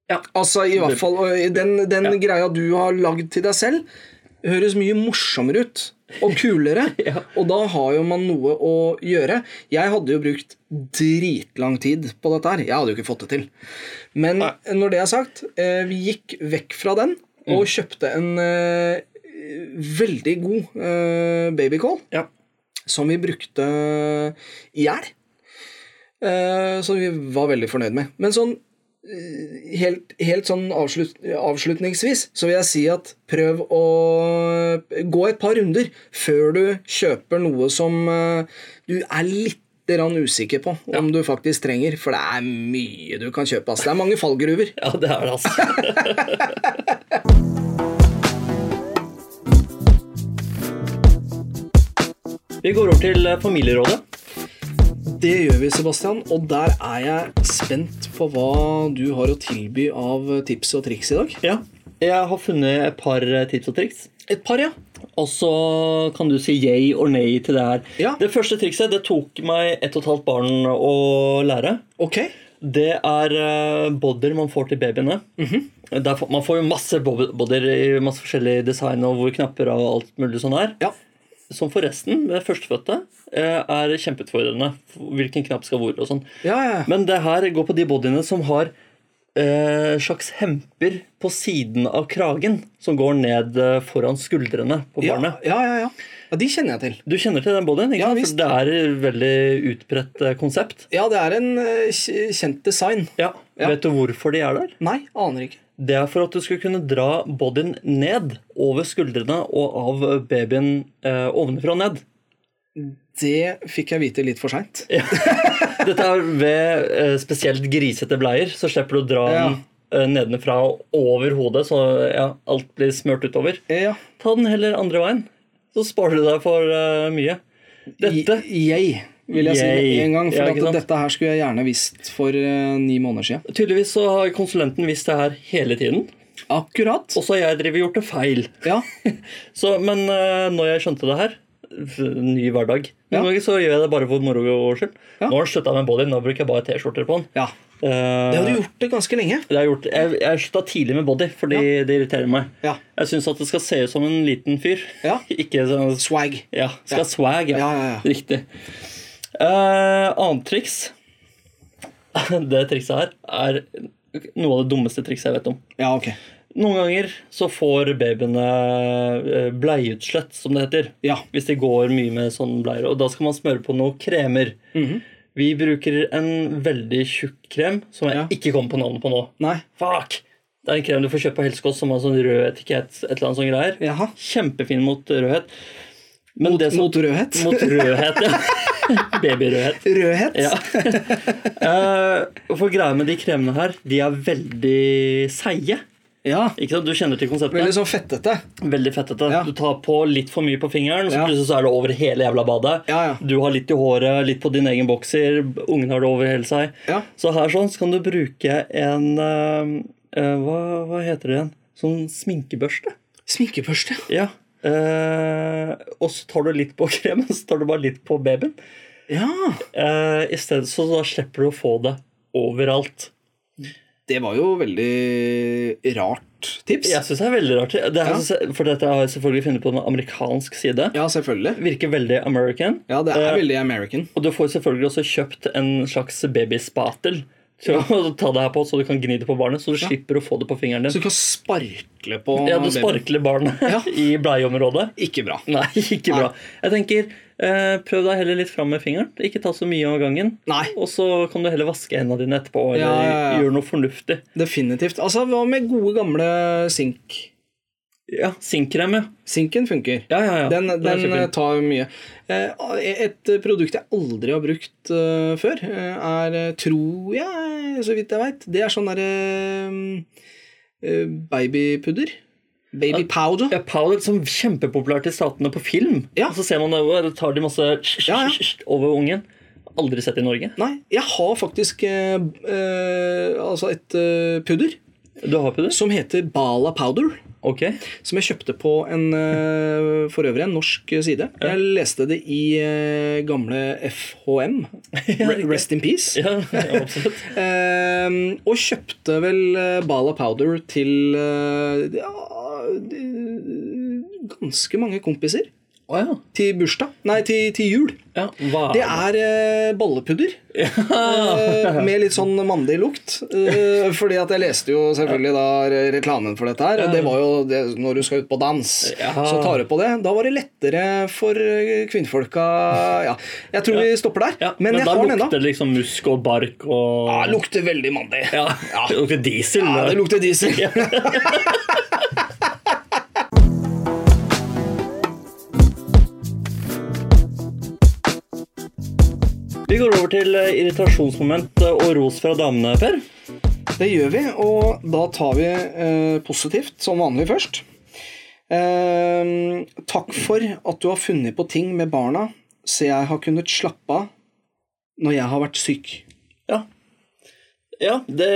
S2: Ja.
S1: Altså, i hvert fall og Den, den
S2: Ja.
S1: greia du har lagd til deg selv, høres mye morsommere ut. Og kulere.
S2: Ja.
S1: Og da har jo man noe å gjøre. Jeg hadde jo brukt dritlang tid på dette her. Jeg hadde jo ikke fått det til. Men
S2: Nei.
S1: når det er sagt, eh, vi gikk vekk fra den og
S2: Mm.
S1: kjøpte en eh, veldig god eh, babycall
S2: Ja.
S1: som vi brukte i hjel. Eh, som vi var veldig fornøyd med. Men sånn eh, helt, helt sånn avslut, avslutningsvis så vil jeg si at prøv å eh, gå et par runder før du kjøper noe som eh, du er litt grann usikker på om du faktisk trenger, for det er mye du kan kjøpe. ass. Det er mange fallgruver.
S2: Ja, det er det, altså. Vi går over til eh, familierådet.
S1: Det gjør vi, Sebastian, og der er jeg spent på hva du har å tilby av tips og triks i dag.
S2: Ja. Jeg har funnet et par eh, tips og triks.
S1: Et par, ja.
S2: Og så kan du si yay og nei til det her.
S1: Ja.
S2: Det første trikset det tok meg ett og et halvt barn å lære.
S1: Ok.
S2: Det er eh, bodder man får til babyene.
S1: Mhm.
S2: Der får- man får jo masse bob- bodder i masse forskjellige design og hvor knapper og alt mulig sånn er.
S1: Ja.
S2: Som forresten, med førstefødte, eh, er kjempeutfordrende. Hvilken knapp skal hvor og sånn.
S1: Ja, ja.
S2: Men det her går på de bodyene som har eh, slags hemper på siden av kragen som går ned eh, foran skuldrene på
S1: ja.
S2: barnet.
S1: Ja, ja, ja. ja, de kjenner jeg til.
S2: Du kjenner til den bodyen? ikke
S1: Ja,
S2: sant?
S1: visst.
S2: det er et veldig utbredt eh, konsept.
S1: Ja, det er en eh, kj- kjent design.
S2: Ja.
S1: Ja.
S2: Vet du hvorfor de er der?
S1: Nei, aner ikke.
S2: Det er for at du skal kunne dra bodyen ned over skuldrene og av babyen eh, ovenfra og ned.
S1: Det fikk jeg vite litt for seint.
S2: Dette er ved eh, spesielt grisete bleier, så slipper du å dra
S1: Ja.
S2: den eh, nedenfra og over hodet, så ja, alt blir smurt utover.
S1: Eh, Ja.
S2: Ta den heller andre veien, så sparer du deg for eh, mye. Dette
S1: I- Yay, vil jeg si
S2: Yay.
S1: med en gang. For
S2: Ja, ikke
S1: at
S2: sant?
S1: dette her skulle jeg gjerne visst for eh, ni måneder siden.
S2: Tydeligvis så har konsulenten visst det her hele tiden,
S1: Akkurat.
S2: og så har jeg drevet gjort det feil.
S1: Ja.
S2: Så, men eh, når jeg skjønte det her f- Ny hverdag. Noen
S1: Ja.
S2: ganger så gjør jeg det bare for moro skyld.
S1: Ja.
S2: Nå har den slutta med body, nå bruker jeg bare T-skjorter på den.
S1: ja.
S2: Eh,
S1: Det har du gjort det ganske lenge.
S2: det har jeg gjort. Jeg, jeg slutta tidlig med body, fordi det irriterer meg.
S1: Ja.
S2: Jeg syns at det skal se ut som en liten fyr.
S1: Ja.
S2: Ikke sånn
S1: Swag.
S2: Ja, skal ha swag. Ja.
S1: Ja, ja, ja.
S2: Riktig. Eh, annet triks Det trikset her er noe av det dummeste trikset jeg vet om.
S1: Ja, ok.
S2: Noen ganger så får babyene eh, bleieutslett, som det heter.
S1: Ja.
S2: Hvis de går mye med sånne bleier. Og da skal man smøre på noen kremer.
S1: Mhm.
S2: Vi bruker en veldig tjukk krem som jeg
S1: Ja.
S2: ikke kommer på navnet på nå.
S1: Nei.
S2: Fuck! Det er en krem du får kjøpt på Helsekost som har sånn rød etikett. et eller annet sånn greier.
S1: Jaha.
S2: Kjempefin mot rødhet. Men det som,
S1: Mot rødhet.
S2: mot rødhet, ja. Babyrødhet.
S1: Rødhet?
S2: Ja. Eh, for greia med de kremene her, de er veldig seige.
S1: ja.
S2: Ikke sant? Du kjenner til konseptet.
S1: Veldig sånn fettete.
S2: Veldig fettete.
S1: Ja.
S2: Du tar på litt for mye på fingeren, så
S1: Ja.
S2: plutselig så er det over hele jævla badet.
S1: Ja, ja.
S2: Du har litt i håret, litt på din egen bokser, ungen har det over hele seg.
S1: Ja.
S2: Så her sånn så kan du bruke en eh, eh, hva, hva heter det igjen? Sånn sminkebørste.
S1: Sminkebørste.
S2: Ja. Eh, og så tar du litt på kremen, så tar du bare litt på babyen.
S1: Ja.
S2: Eh, I stedet så da slipper du å få det overalt.
S1: Det var jo veldig rart tips.
S2: Jeg synes det er veldig rart. Det her, synes jeg- For dette har jeg selvfølgelig funnet på en amerikansk side.
S1: Ja, selvfølgelig.
S2: Virker veldig American.
S1: Ja, det er
S2: Eh,
S1: veldig American.
S2: Og du får selvfølgelig også kjøpt en slags babyspatel til å ta det her på, så du kan gni det på barnet, så du slipper å få det på fingeren
S1: Så
S2: din.
S1: du kan sparkle på
S2: Ja, du
S1: babyen.
S2: sparkler barnet
S1: Ja.
S2: i bleieområdet.
S1: Ikke bra.
S2: Nei, ikke bra. Jeg tenker, eh, Prøv deg heller litt fram med fingeren. Ikke ta så mye av gangen.
S1: Nei.
S2: Og så kan du heller vaske hendene dine etterpå, eller
S1: Ja, ja, ja.
S2: gjøre noe fornuftig.
S1: Definitivt. Altså, hva med gode gamle sink?
S2: Ja, sinkkrem, ja.
S1: Sinken funker.
S2: Ja, ja, ja.
S1: Den,
S2: Den er
S1: den
S2: kjempefin.
S1: eh, tar mye. Eh, Et produkt jeg aldri har brukt eh, før, eh, er, eh, tror jeg, så vidt jeg veit, det er sånn derre eh, babypudder. Baby powder.
S2: Ja, Powder som er kjempepopulært i statene på film.
S1: eh, Ja.
S2: Og så ser man det, og da tar de masse
S1: Ja, ja.
S2: over ungen. Aldri sett i Norge.
S1: Nei, jeg har faktisk eh, eh, altså et eh, pudder
S2: Du har ikke det?
S1: som heter Bala powder.
S2: Ok.
S1: Som jeg kjøpte på en eh, for øvrig en norsk side. Jeg leste det i eh, gamle FHM. Re- Rest in peace.
S2: Ja, ja, absolutt.
S1: Ehm, og kjøpte vel eh, Bala Powder til eh, ja, de- ganske mange kompiser.
S2: Å ja.
S1: Til bursdag. Nei, til, til jul.
S2: ja. Hva
S1: Det er eh, bollepudder. Eh, med litt sånn mandellukt. Eh, fordi at jeg leste jo selvfølgelig da re- reklamen for dette her. Og det var jo det, når du skal ut på dans,
S2: Ja.
S1: så tar du på det. Da var det lettere for eh, kvinnfolka Ja, jeg tror vi stopper der.
S2: ja,
S1: men, jeg
S2: da
S1: har den
S2: lukter
S1: ennå.
S2: det liksom musk og bark og
S1: Ja, lukter veldig mandig.
S2: Ja. Det lukter diesel.
S1: Ja, det
S2: da.
S1: lukter diesel.
S2: Vi går over til eh, irritasjonsmoment eh, og ros fra damene, Per.
S1: Det gjør vi, og da tar vi eh, positivt som vanlig først. Eh, takk for at du har funnet på ting med barna, så jeg har kunnet slappe av når jeg har vært syk.
S2: Ja. Ja, det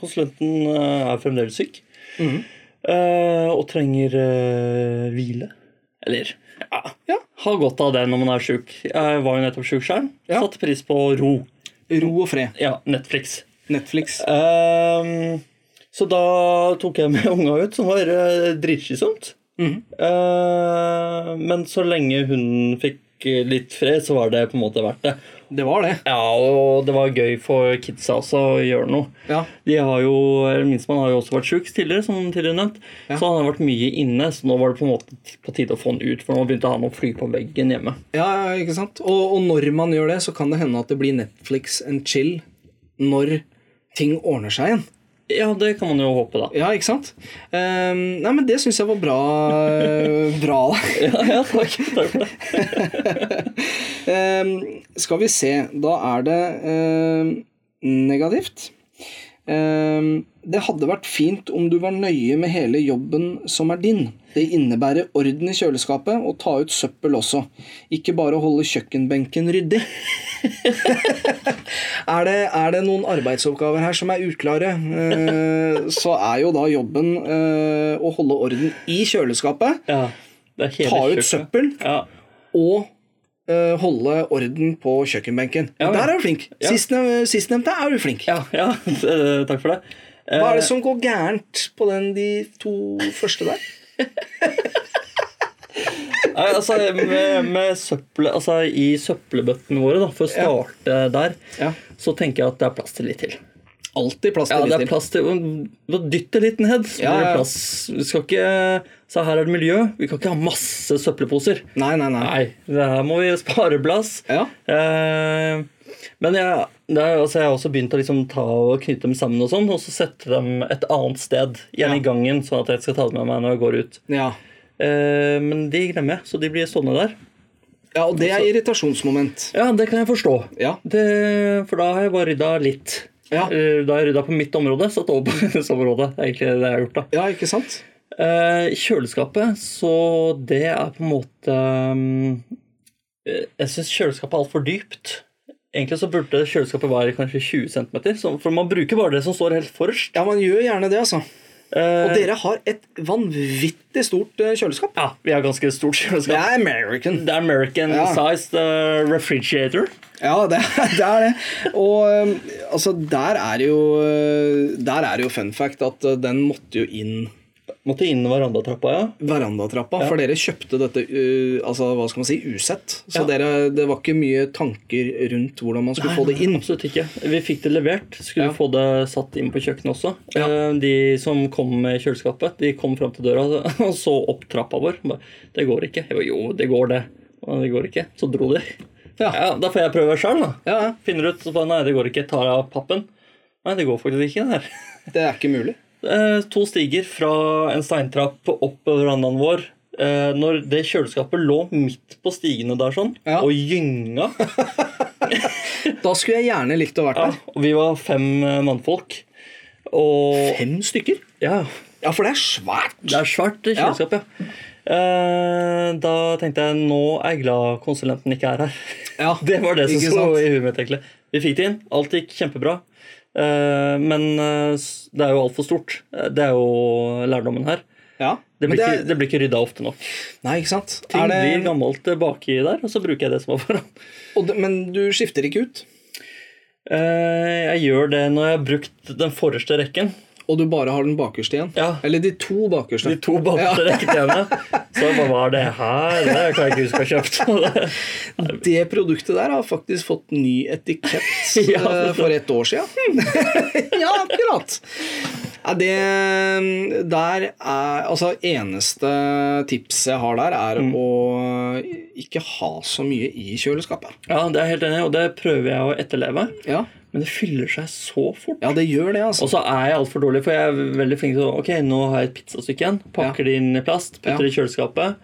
S2: Konsulenten eh, er fremdeles syk.
S1: Mhm.
S2: Eh, og trenger eh, hvile. Eller ja.
S1: Ja.
S2: Ha godt av det når man er sjuk. Jeg var jo nettopp sjuk sjøl.
S1: Ja.
S2: Satte pris på ro.
S1: Ro og fred.
S2: Ja, Netflix.
S1: Netflix.
S2: Ehm, så da tok jeg med unga ut, som var eh, dritslitsomt. Ehm, men så lenge hun fikk eh, litt fred, så var det på en måte verdt det.
S1: Det var det.
S2: Ja, og det var gøy for kidsa også å gjøre noe.
S1: Ja.
S2: De har jo, eller Minstemann har jo også vært sjuk tidligere, som tidligere nevnt. Så han har vært mye inne, så nå var det på en måte på tide å få han ut. For nå begynte han å fly på veggen hjemme.
S1: ja, ikke sant? Og, og når man gjør det, så kan det hende at det blir Netflix and chill når ting ordner seg igjen.
S2: Ja, det kan man jo håpe, da.
S1: Ja, ikke sant? Eh, nei, men det syns jeg var bra. eh, bra.
S2: Ja, ja takk. takk for det.
S1: Ehm, skal vi se. Da er det ehm, negativt. Ehm, det hadde vært fint om du var nøye med hele jobben som er din. Det innebærer orden i kjøleskapet og ta ut søppel også. Ikke bare holde kjøkkenbenken ryddig. er, det, er det noen arbeidsoppgaver her som er uklare, eh, så er jo da jobben eh, å holde orden i kjøleskapet
S2: Ja, det er hele
S1: Ta ut
S2: kjøkkenet.
S1: søppel.
S2: Ja.
S1: og eh, holde orden på kjøkkenbenken.
S2: Ja, ja.
S1: Der er du flink.
S2: Ja.
S1: Sistne- Sistnevnte er du flink.
S2: Ja, ja, eh, takk for det. Eh,
S1: Hva er det som går gærent på den de to første der?
S2: Nei, altså, med, med søppel, altså, I søppelbøttene våre, da, for å starte der,
S1: Ja.
S2: så tenker jeg at det er plass til litt til.
S1: Alltid plass
S2: Ja,
S1: til
S2: det
S1: litt
S2: er
S1: til.
S2: plass til Da dytter litt ned, så
S1: Ja,
S2: blir det
S1: ja.
S2: plass. Vi skal ikke Så her er det miljø. Vi kan ikke ha masse søppelposer.
S1: Nei, nei, nei.
S2: Nei, det her må vi spare plass.
S1: Ja.
S2: Eh, men jeg, det er, altså, jeg har også begynt å liksom ta og knytte dem sammen og sånn, og så sette dem et annet sted, gjerne i gangen, sånn at jeg skal ta det med meg når jeg går ut.
S1: Ja.
S2: Eh, men de glemmer jeg, så de blir stående der.
S1: ja, og det er
S2: Altså-
S1: irritasjonsmoment.
S2: Ja, det kan jeg forstå.
S1: Ja.
S2: Det, for da har jeg bare rydda litt.
S1: Ja.
S2: Eh, Da har jeg rydda på mitt område, satt over på hennes område. Det er egentlig det jeg har gjort, da.
S1: Ja, ikke sant?
S2: Eh, kjøleskapet, så det er på en måte mm, eh, Jeg syns kjøleskapet er altfor dypt. Egentlig så burde kjøleskapet være kanskje 20 cm, for man bruker bare det som står helt forrest.
S1: Ja, man gjør gjerne det, altså.
S2: Eh,
S1: Og dere har et vanvittig stort eh, kjøleskap.
S2: ja, vi har ganske stort
S1: Det
S2: kjøleskap.
S1: er American.
S2: Det er American
S1: Ja.
S2: sized eh, refrigerator.
S1: Ja, det, det er det. Og eh, altså, der er det jo eh, Der er det jo fun fact at eh, den måtte jo inn
S2: Måtte inn verandatrappa, ja.
S1: verandatrappa, for dere kjøpte dette uh, altså, hva skal man si, usett. Så dere, det var ikke mye tanker rundt hvordan man skulle få det inn.
S2: Absolutt ikke. Vi fikk det levert. Skulle
S1: Ja.
S2: få det satt inn på kjøkkenet også.
S1: Ja.
S2: Eh, De som kom med kjøleskapet, de kom fram til døra og så opp trappa vår. Ba, Det går ikke. Jeg ba, jo, det går det. «Nei, Det går ikke. Så dro de.
S1: Ja.
S2: Ja, da får jeg prøve sjøl, da.
S1: Ja,
S2: Finner ut så bare, Nei, det går ikke. Tar jeg av pappen. Nei, det går faktisk ikke. det her.
S1: det er ikke mulig.
S2: eh, to stiger fra en steintrapp opp på verandaen vår. Eh, når det kjøleskapet lå midt på stigene der sånn,
S1: Ja.
S2: og gynga
S1: Da skulle jeg gjerne likt å vært
S2: ja,
S1: der.
S2: Og vi var fem eh, mannfolk. Og
S1: Fem stykker?
S2: ja,
S1: Ja, for det er svært.
S2: det er svært det
S1: Ja.
S2: kjøleskap, ja. Eh, da tenkte jeg nå er jeg glad konsulenten ikke er her.
S1: Ja,
S2: Det var det som
S1: ikke
S2: sto
S1: sant?
S2: i huet mitt. egentlig. Vi fikk det inn. Alt gikk kjempebra. Eh, Men eh, s- det er jo altfor stort. Eh, Det er jo lærdommen her.
S1: Ja.
S2: Det
S1: men
S2: blir,
S1: det
S2: ikke, det blir ikke rydda ofte nok.
S1: Nei, ikke sant?
S2: Ting
S1: Er
S2: blir
S1: det,
S2: gammelt eh, baki der, og så bruker jeg det som var foran.
S1: og det, men du skifter ikke ut?
S2: Eh, Jeg gjør det når jeg har brukt den forreste rekken.
S1: Og du bare har den bakerste igjen?
S2: Ja.
S1: Eller de to bakerste?
S2: De to bakerste rekkene hjemme. Så jeg bare, hva er det her? Det kan jeg ikke huske å ha kjøpt.
S1: Det produktet der har faktisk fått ny etikett
S2: Ja. Hmm.
S1: eh, for et år siden. ja, akkurat. Ja, det der er Altså, eneste tipset jeg har der, er
S2: Hmm.
S1: å ikke ha så mye i kjøleskapet.
S2: Ja, det er jeg helt enig i, og det prøver jeg å etterleve.
S1: Ja,
S2: Men det fyller seg så fort.
S1: ja det gjør det, altså.
S2: Og så er jeg altfor dårlig, for jeg er veldig flink til å Ok, nå har jeg et pizzastykke igjen. Pakker det inn i plast, putter det i kjøleskapet.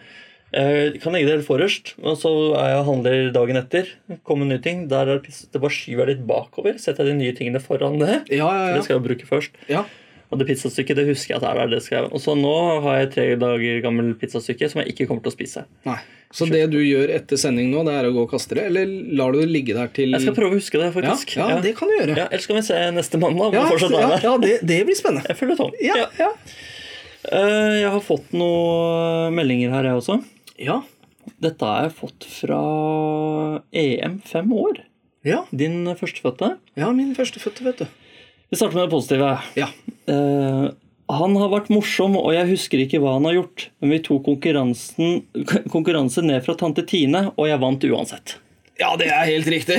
S2: Eh, kan legge det helt forrest, og så er jeg og handler dagen etter. Kommer en ny ting. Der er det pizza, det bare skyver jeg litt bakover. Setter jeg de nye tingene foran det.
S1: Ja, ja,
S2: Det
S1: ja.
S2: skal jeg bruke først.
S1: ja.
S2: Og det pizzastykket det husker jeg at er der. det skal jeg. Og så nå har jeg tre dager gammel pizzastykke som jeg ikke kommer til å spise.
S1: Nei. Så det du gjør etter sending nå, det er å gå og kaste det? Eller lar du det ligge der til
S2: Jeg skal prøve å huske det,
S1: ja,
S2: faktisk.
S1: Mm. ja, det kan du gjøre.
S2: Ja, Ellers kan vi se neste mandag. om
S1: Ja,
S2: det fortsatt er
S1: ja,
S2: der.
S1: ja det, det blir spennende.
S2: Jeg følger tom.
S1: Ja, ja.
S2: Eh, Jeg har fått noen meldinger her, jeg også.
S1: Ja.
S2: Dette har jeg fått fra EM fem år.
S1: Ja,
S2: Din førstefødte.
S1: ja min førstefødte, vet du.
S2: Vi starter med det positive.
S1: Ja.
S2: Eh, han har vært morsom, og jeg husker ikke hva han har gjort. Men vi tok konkurransen, konkurranse ned fra tante Tine, og jeg vant uansett.
S1: Ja, det er helt riktig.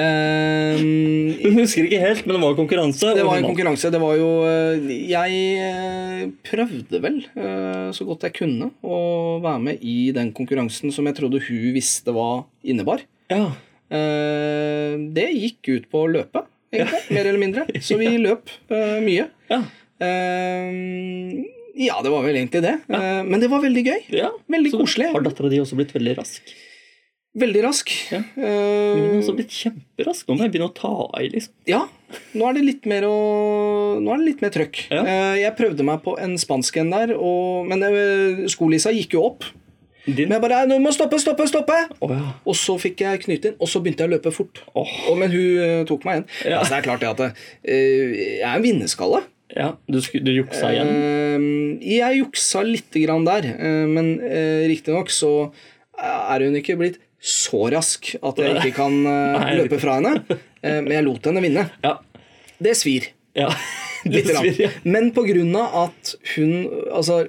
S1: Ehm,
S2: Hun husker ikke helt, men det var konkurranse.
S1: det
S2: og
S1: var
S2: hun
S1: en
S2: vant.
S1: konkurranse. Det var jo eh, Jeg eh, prøvde vel eh, så godt jeg kunne å være med i den konkurransen som jeg trodde hun visste hva innebar.
S2: Ja.
S1: Eh, Det gikk ut på å løpe, egentlig. Mer eller mindre. Så vi løp eh, mye.
S2: Ja.
S1: Ehm, Ja, det var vel egentlig det. Eh, Men det var veldig gøy.
S2: ja.
S1: Veldig
S2: Så
S1: koselig.
S2: Har dattera di også blitt veldig rask?
S1: Veldig rask.
S2: Ja.
S1: Eh,
S2: Hun har også blitt kjemperask. Nå må jeg begynne å ta av, liksom.
S1: Ja, nå er det litt mer, å, nå er det litt mer trøkk.
S2: Ja.
S1: Eh, Jeg prøvde meg på en spansk en der, og, men eh, skolissa gikk jo opp.
S2: Din?
S1: Men jeg bare 'Nå må jeg stoppe, stoppe, stoppe!'
S2: Å ja.
S1: Og så fikk jeg knytt inn, og så begynte jeg å løpe fort.
S2: Åh.
S1: Og, men hun eh, tok meg igjen.
S2: Ja.
S1: Altså, det er klart det at eh, jeg er en vinnerskalle.
S2: ja. Du, sku- du juksa igjen?
S1: Eh, jeg juksa lite grann der, eh, men uh, riktignok så eh, er hun ikke blitt så rask at jeg ikke kan eh,
S2: Nei.
S1: løpe fra henne. Eh, men jeg lot henne vinne.
S2: Ja.
S1: Det svir.
S2: ja.
S1: Litt
S2: Det
S1: rann.
S2: svir, ja.
S1: Men på grunn av at hun Altså,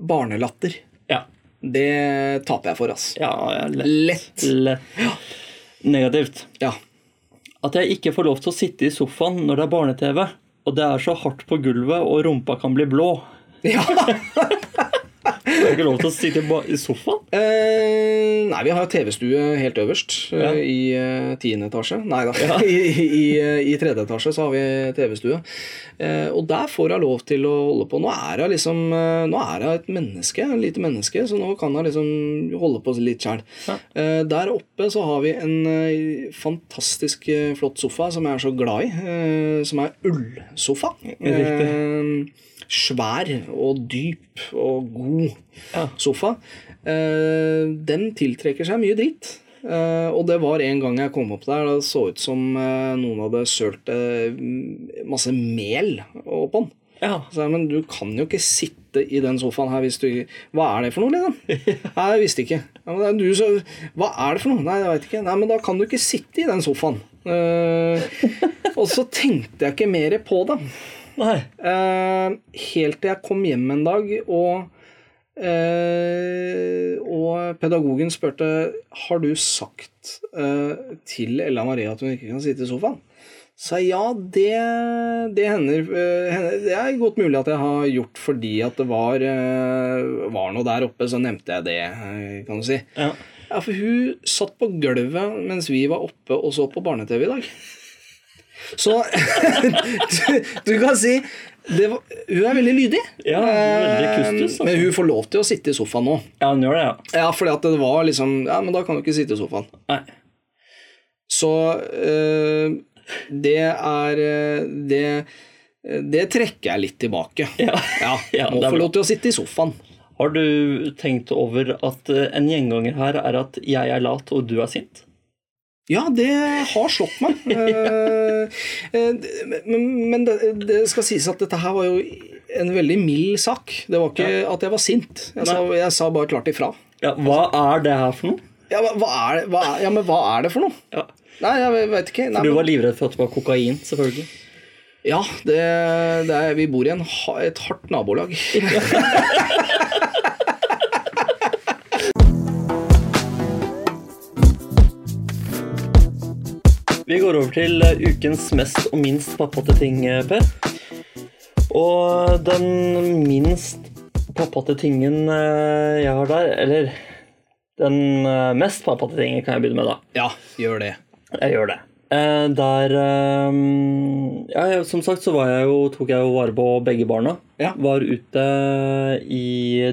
S1: barnelatter.
S2: Ja.
S1: Det taper jeg for, ass.
S2: ja, ja lett.
S1: Lett.
S2: Lett. Negativt.
S1: Ja.
S2: At jeg ikke får lov til å sitte i sofaen når det er barne-TV, og det er så hardt på gulvet og rumpa kan bli blå.
S1: ja.
S2: Jeg har ikke lov til å sitte i ba- i sofaen.
S1: Eh, nei, vi har jo TV-stue helt øverst eh,
S2: Ja.
S1: i eh, tiende etasje. Nei da. I, i, eh, I tredje etasje så har vi TV-stue. Eh, og der får hun lov til å holde på. Nå er hun liksom eh, Nå er hun et menneske, et lite menneske, så nå kan hun liksom holde på litt sjæl.
S2: Ja.
S1: Eh, der oppe så har vi en eh, fantastisk eh, flott sofa som jeg er så glad i, eh, som er ullsofa.
S2: Riktig.
S1: Eh, svær og dyp og god
S2: Ja.
S1: sofa. Eh, den tiltrekker seg mye dritt. Eh, og det var en gang jeg kom opp der, det så ut som eh, noen hadde sølt eh, masse mel oppå den.
S2: Ja.
S1: Så jeg, men du kan jo ikke sitte i den sofaen her hvis du ikke Hva er det for noe, liksom? Nei, jeg visste ikke. Ja, men det er du som Hva er det for noe? Nei, jeg veit ikke. Nei, men da kan du ikke sitte i den sofaen. Eh, og så tenkte jeg ikke mer på det.
S2: Nei.
S1: Eh, helt til jeg kom hjem en dag, og, eh, og pedagogen spurte har du sagt eh, til Ella Marie at hun ikke kan sitte i sofaen. Så jeg, ja, det, det hender, eh, hender Det er godt mulig at jeg har gjort fordi at det var, eh, var noe der oppe, så nevnte jeg det, eh, kan du si.
S2: Ja.
S1: Ja, for hun satt på gulvet mens vi var oppe og så på barne-TV i dag. Så du, du kan si det var, Hun er veldig lydig. Eh,
S2: Ja, hun er veldig kustus, altså.
S1: Men hun får lov til å sitte i sofaen nå.
S2: Ja, hun gjør det, ja.
S1: Ja, fordi at det var liksom Ja, men da kan du ikke sitte i sofaen.
S2: Nei.
S1: Så eh, det er eh, det, eh, det trekker jeg litt tilbake.
S2: Ja. Ja,
S1: må
S2: det er
S1: få
S2: bra.
S1: lov til å sitte i sofaen.
S2: Har du tenkt over at eh, en gjenganger her er at jeg er lat og du er sint?
S1: Ja, det har slått meg. Eh, eh, men men det, det skal sies at dette her var jo en veldig mild sak. Det var ikke at jeg var sint. Jeg sa, jeg sa bare klart ifra.
S2: Ja, hva er det her for noe?
S1: Ja, hva, hva er, det- hva er, ja, men hva er det for noe?
S2: Ja.
S1: Nei, jeg veit ikke. Nei,
S2: Du
S1: men-
S2: var livredd for at det var kokain, selvfølgelig.
S1: Ja, det, det er, vi bor i en, ha- et hardt nabolag.
S2: Vi går over til eh, ukens mest og minst pappate ting, eh, Per. Og den minst pappate tingen eh, jeg har der, eller den eh, mest pappate tingen kan jeg begynne med, da.
S1: Ja, gjør det.
S2: Jeg gjør det. Eh, der eh, ja, jeg- Som sagt så var jeg jo, tok jeg jo vare på begge barna.
S1: Ja.
S2: Var ute i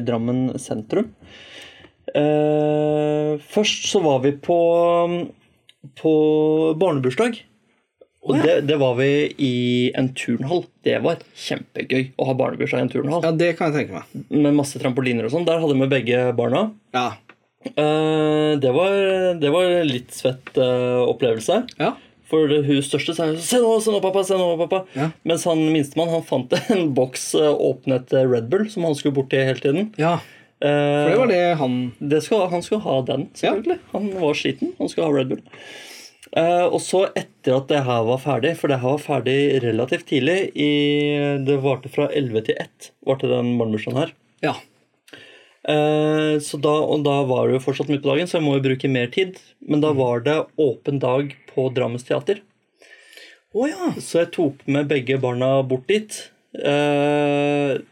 S2: Drammen sentrum. Eh, først så var vi på, på barnebursdag. Og det, det var vi i en turnhall. Det var kjempegøy å ha barnebursdag i en turnhall.
S1: Ja, det kan jeg tenke meg.
S2: Med masse trampoliner og sånn. Der hadde vi begge barna.
S1: Ja.
S2: Eh, det, var, det var en litt svett eh, opplevelse.
S1: Ja.
S2: For hun største sa jo 'se nå, se nå, pappa', se nå, pappa.
S1: Ja.
S2: Mens han minstemann han fant en boks eh, åpnet eh, Red Bull som han skulle borti hele tiden.
S1: ja.
S2: Eh,
S1: For det var det han
S2: det skal, han skulle ha den, selvfølgelig. Han var sliten. Han skulle ha Red Bull. Eh, og så etter at det her var ferdig, for det her var ferdig relativt tidlig i, Det varte fra 11 til 1, varte den barnebursdagen her.
S1: Ja.
S2: Eh, så da, og da var det jo fortsatt midt på dagen, så jeg må jo bruke mer tid. Men
S1: Mm.
S2: da var det åpen dag på Drammens teater.
S1: Å ja.
S2: Så jeg tok med begge barna bort dit. Eh,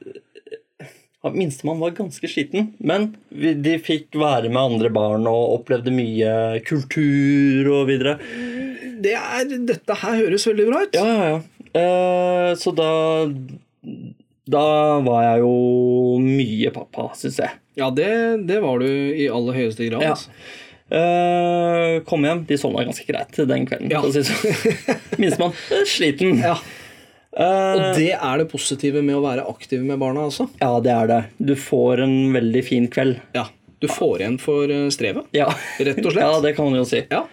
S2: han Minstemann var ganske sliten, men vi, de fikk være med andre barn og opplevde mye kultur og videre.
S1: Det er, dette her høres veldig bra ut.
S2: Ja, ja, ja. Eh, så da Da var jeg jo mye pappa, syns jeg.
S1: Ja, det, det var du i aller høyeste grad.
S2: Ja.
S1: altså.
S2: Eh, kom hjem. De sovna ganske greit den kvelden.
S1: Ja.
S2: for å si det sånn. Minstemann eh, sliten.
S1: Ja.
S2: Eh,
S1: Og det er det positive med å være aktiv med barna, altså.
S2: ja, det er det. Du får en veldig fin kveld.
S1: Ja. Du får igjen for eh, strevet.
S2: Ja.
S1: Rett og slett.
S2: Ja, det kan man jo si.
S1: Ja.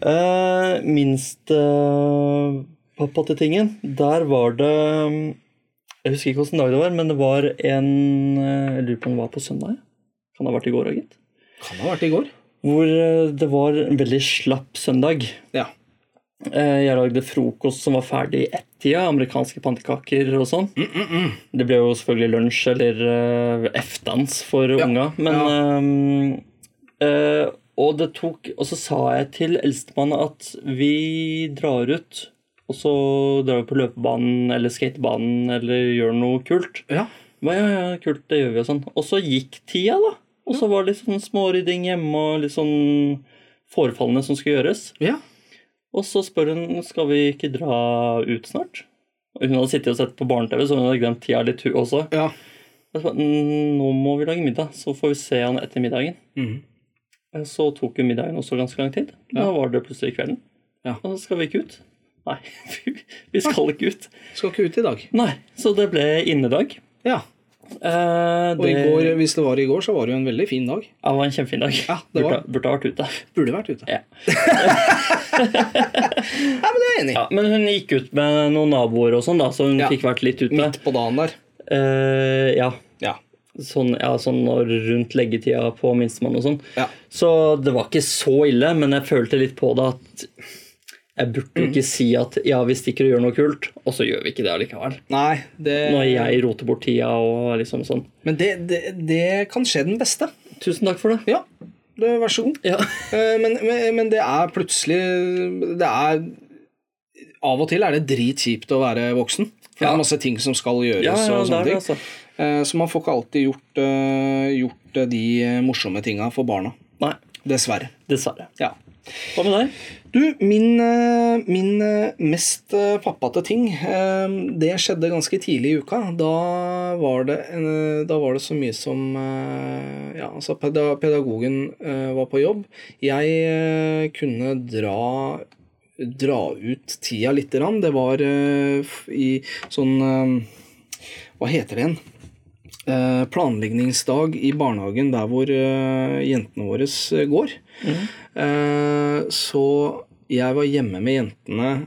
S2: Eh, minst eh, pappa til tingen, der var det mm, Jeg husker ikke hvilken dag det var, men det var en eh, Jeg lurer på om det var på søndag? ja. Kan det ha vært i går òg, gitt.
S1: Kan ha vært i går.
S2: Hvor eh, det var en veldig slapp søndag.
S1: Ja.
S2: Eh, Jeg lagde frokost som var ferdig i ett-tida. Amerikanske pannekaker og sånn. Det ble jo selvfølgelig lunsj eller eh, eftans for unga. Men eh, eh, Og det tok Og så sa jeg til eldstemann at vi drar ut, og så drar vi på løpebanen eller skatebanen eller gjør noe kult.
S1: Ja.
S2: Ba, ja, ja, kult, det gjør vi og sånn. Og så gikk tida, da. Og så var det litt sånn smårydding hjemme og litt sånn forefallende som skulle gjøres.
S1: Ja.
S2: Og så spør hun skal vi ikke dra ut snart. Og Hun hadde sittet og sett på barne-TV, så hun hadde glemt tida litt, hun også.
S1: ja.
S2: Jeg sa, "Mm, Nå må vi lage middag, så får vi se han etter middagen.
S1: Mhm.
S2: Eh, Så tok jo middagen også ganske lang tid. Da var det plutselig kvelden.
S1: Ja.
S2: Og så skal vi ikke ut. Nei, vi skal ikke ut.
S1: Skal ikke ut i dag.
S2: Nei, Så det ble innedag.
S1: Ja.
S2: Eh,
S1: Og i
S2: det-
S1: går, hvis det var i går, så var det jo en veldig fin dag.
S2: Ja, det var en kjempefin dag.
S1: Ja, det var.
S2: Burde, burde ha vært ute.
S1: Burde vært ute.
S2: Ja.
S1: Nei, men det er jeg enig i.
S2: Ja, men hun gikk ut med noen naboer og sånn, da, så hun
S1: Ja.
S2: fikk vært litt ute.
S1: Midt på dagen der.
S2: Eh, ja.
S1: Ja.
S2: Sånn, ja, sånn når- rundt leggetida på minstemann og sånn.
S1: Ja.
S2: Så det var ikke så ille, men jeg følte litt på det at jeg burde jo ikke si at ja, vi stikker og gjør noe kult, og så gjør vi ikke det allikevel.
S1: Nei,
S2: Når
S1: det,
S2: jeg roter bort tida og liksom sånn.
S1: men det, det, det kan skje den beste.
S2: Tusen takk for det.
S1: Ja, det, vær så god.
S2: Ja.
S1: Eh, Men, men, men det er plutselig Det er Av og til er det dritkjipt å være voksen. For det
S2: Ja.
S1: er masse ting som skal gjøres.
S2: Ja, ja,
S1: og
S2: det er
S1: sånne
S2: det,
S1: ting.
S2: altså.
S1: Eh, Så man får ikke alltid gjort, eh, gjort eh, de morsomme tinga for barna.
S2: Nei,
S1: Dessverre.
S2: dessverre.
S1: Ja.
S2: Hva med deg?
S1: Du, min, eh, min eh, mest eh, pappate ting, eh, det skjedde ganske tidlig i uka. Da var det, en- eh, da var det så mye som eh, Ja, altså peda- pedagogen eh, var på jobb. Jeg eh, kunne dra, dra ut tida lite grann. Det var eh, f- i sånn eh, Hva heter det igjen? eh, planleggingsdag i barnehagen der hvor eh, jentene våre eh, går. Eh, så jeg var hjemme med jentene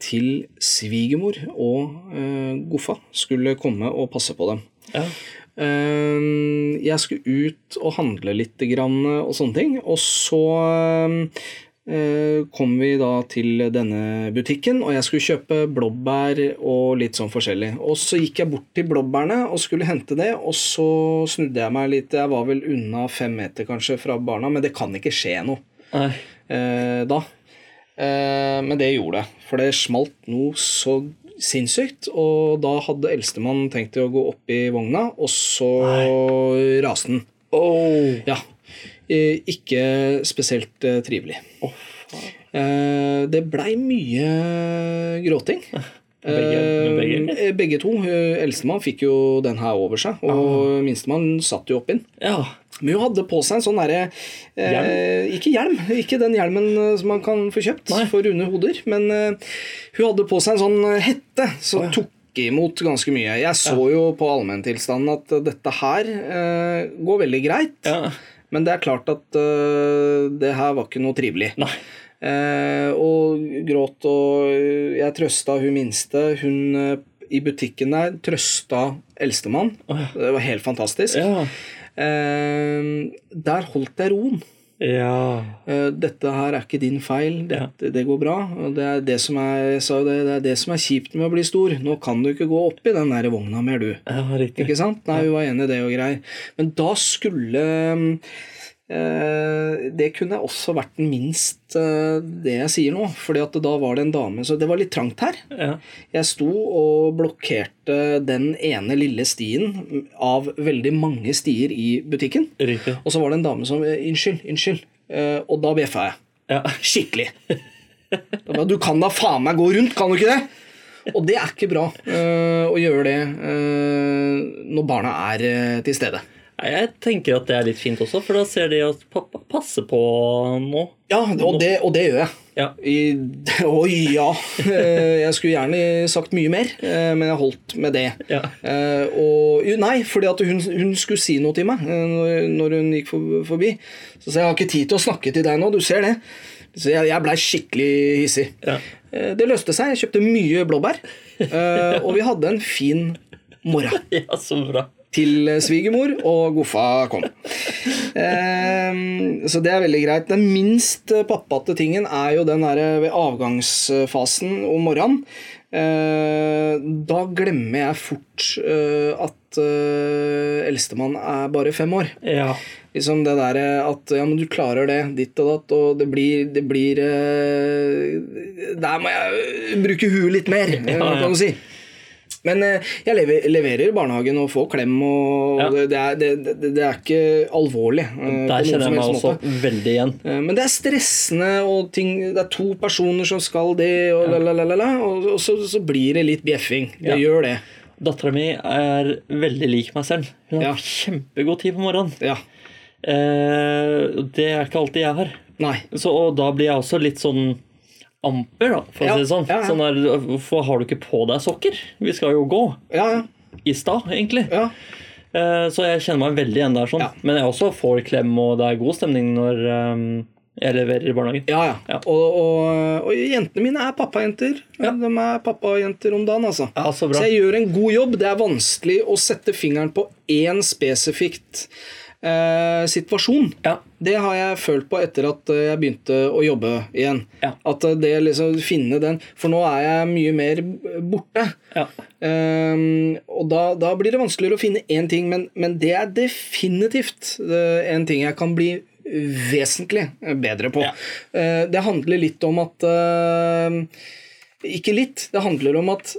S1: til svigermor og eh, Goffa skulle komme og passe på dem.
S2: Ja.
S1: Eh, jeg skulle ut og handle litt grann, eh, og sånne ting. Og så eh, kom vi da til denne butikken, og jeg skulle kjøpe blåbær og litt sånn forskjellig. Og så gikk jeg bort til blåbærene og skulle hente det, og så snudde jeg meg litt. Jeg var vel unna fem meter kanskje fra barna, men det kan ikke skje noe
S2: Nei.
S1: eh, da. Eh, men det gjorde det, for det smalt noe så sinnssykt. Og da hadde eldstemann tenkt til å gå opp i vogna, og så raste den.
S2: Oh.
S1: Ja. Eh, ikke spesielt eh, trivelig. Eh, det blei mye gråting.
S2: Begge- begge?
S1: Eh, begge to. Eh, Eldstemann fikk jo den her over seg, og
S2: Ah.
S1: minstemann satt jo opp inn.
S2: Ja.
S1: Men hun hadde på seg en sånn derre eh, Ikke hjelm, ikke den hjelmen eh, som man kan få kjøpt
S2: Nei.
S1: for runde hoder. Men eh, hun hadde på seg en sånn eh, hette som tok imot ganske mye. Jeg så jo på allmenntilstanden at eh, dette her eh, går veldig greit.
S2: Ja.
S1: Men det er klart at eh, det her var ikke noe trivelig.
S2: Nei.
S1: Eh, og gråt og eh, Jeg trøsta hun minste. Hun eh, i butikken der trøsta eldstemann. Det var helt fantastisk.
S2: Ja.
S1: Eh, der holdt jeg roen.
S2: Ja.
S1: Eh, dette her er ikke din feil, det, det går bra. Og Det er det, som er, jeg sa jo det, det er det som er kjipt med å bli stor. Nå kan du ikke gå opp i den der vogna mer, du.
S2: ja riktig.
S1: Ikke sant? Nei, hun var enig i det og greier. Men da skulle eh, Det kunne også vært den minst eh, det jeg sier nå. Fordi at da var det en dame Så det var litt trangt her.
S2: Ja.
S1: Jeg sto og blokkerte den ene lille stien av veldig mange stier i butikken.
S2: Riktig.
S1: Og så var det en dame som eh, Unnskyld, unnskyld. Eh, og da bjeffa jeg.
S2: Ja.
S1: Skikkelig. Da ba jeg, du kan da faen meg gå rundt, kan du ikke det? Og det er ikke bra eh, å gjøre det eh, når barna er eh, til stede.
S2: Nei, Jeg tenker at det er litt fint også, for da ser de at pappa passer på nå.
S1: Ja, og det, og det gjør jeg.
S2: Ja.
S1: I, oi, ja. Eh, Jeg skulle gjerne sagt mye mer, eh, men jeg holdt med det.
S2: Ja.
S1: Eh, og, jo, nei, fordi at hun, hun skulle si noe til meg eh, når- når hun gikk for- forbi. Så sa jeg jeg har ikke tid til å snakke til deg nå, du ser det. Så jeg, jeg blei skikkelig hissig.
S2: Ja.
S1: Eh, Det løste seg. Jeg kjøpte mye blåbær. eh, Og vi hadde en fin morgen
S2: ja, så bra.
S1: til eh, svigermor, og Goffa kom. Ehm, Så det er veldig greit. Den minst pappate tingen er jo den derre ved avgangsfasen om morgenen. Eh, Da glemmer jeg fort eh, at eh, eldstemann er bare fem år.
S2: Ja.
S1: Liksom det der at ja, men du klarer det, ditt og datt, og det blir, det blir eh, Der må jeg bruke huet litt mer, eh,
S2: ja.
S1: kan du si. Men eh, jeg lever, leverer i barnehagen og får klem, og
S2: Ja.
S1: det, det, er, det, det, det er ikke alvorlig. eh, på
S2: Der
S1: noen
S2: kjenner
S1: som
S2: jeg meg
S1: helst
S2: også
S1: måte.
S2: veldig igjen.
S1: Eh, Men det er stressende, og ting, det er to personer som skal det, og, la, la, la, la, la, og, og så, så blir det litt bjeffing. Det gjør det.
S2: Dattera mi er veldig lik meg selv. Hun har
S1: Ja.
S2: kjempegod tid på morgenen.
S1: Ja.
S2: Eh, det er ikke alltid jeg har.
S1: Nei.
S2: Så, og da blir jeg også litt sånn amper, da, for
S1: Ja,
S2: å si det sånn.
S1: ja, ja.
S2: sånn der, hvorfor har du ikke på deg sokker? Vi skal jo gå.
S1: Ja, ja.
S2: I stad, egentlig.
S1: ja.
S2: Eh, Så jeg kjenner meg veldig igjen der. sånn.
S1: Ja.
S2: Men jeg også får klem, og det er god stemning når eh, jeg leverer i barnehagen.
S1: Ja, ja.
S2: Ja.
S1: Og, og, og jentene mine er pappajenter. De er pappajenter om dagen, altså.
S2: Ja, så bra.
S1: jeg gjør en god jobb. Det er vanskelig å sette fingeren på én spesifikt eh, situasjon.
S2: Ja.
S1: Det har jeg følt på etter at eh, jeg begynte å jobbe igjen.
S2: Ja.
S1: At eh, det liksom finne den For nå er jeg mye mer borte.
S2: Ja.
S1: Ehm, og da, da blir det vanskeligere å finne én ting, men, men det er definitivt eh, en ting jeg kan bli vesentlig bedre på.
S2: Ja.
S1: Eh, det handler litt om at eh, Ikke litt. Det handler om at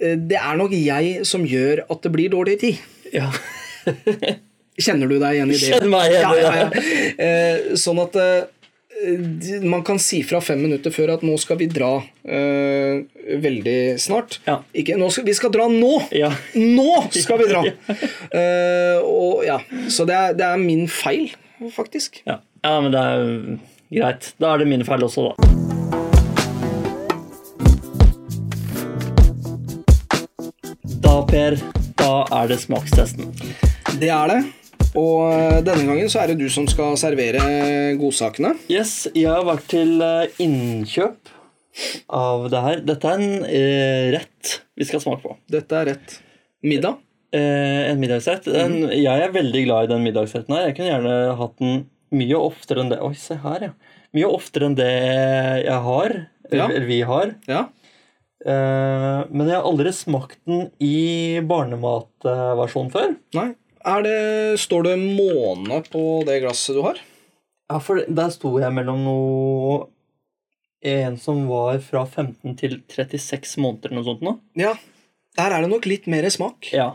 S1: eh, det er nok jeg som gjør at det blir dårlig tid.
S2: ja.
S1: Kjenner du deg igjen i det?
S2: Kjenner meg igjen i
S1: ja, ja, ja. Eh, Sånn at eh, de- man kan si fra fem minutter før at nå skal vi dra eh, veldig snart.
S2: Ja.
S1: Ikke, nå skal, vi skal dra nå!
S2: Ja.
S1: Nå skal vi dra! Eh, og, ja. Så det er, det er min feil, faktisk.
S2: Ja. ja, men det er jo greit. Da er det mine feil også, da. Da, Per, da er det smakstesten.
S1: Det er det. Og eh, denne gangen så er det du som skal servere godsakene.
S2: Yes, jeg har vært til eh, innkjøp av det her. Dette er en eh, rett vi skal smake på.
S1: Dette er rett. Middag.
S2: Eh, en middagsrett. Den, Jeg er veldig glad i den middagsretten her. Jeg kunne gjerne hatt den mye oftere enn det Oi, se her, ja. Mye oftere enn det jeg har.
S1: Ja.
S2: Eller vi har.
S1: Ja.
S2: Eh, men jeg har aldri smakt den i barnematversjon før.
S1: Nei. Er det, står det måne på det glasset du har?
S2: Ja, for der sto jeg mellom noe En som var fra 15 til 36 måneder eller noe sånt nå.
S1: Ja. Der er det nok litt mer smak.
S2: Ja.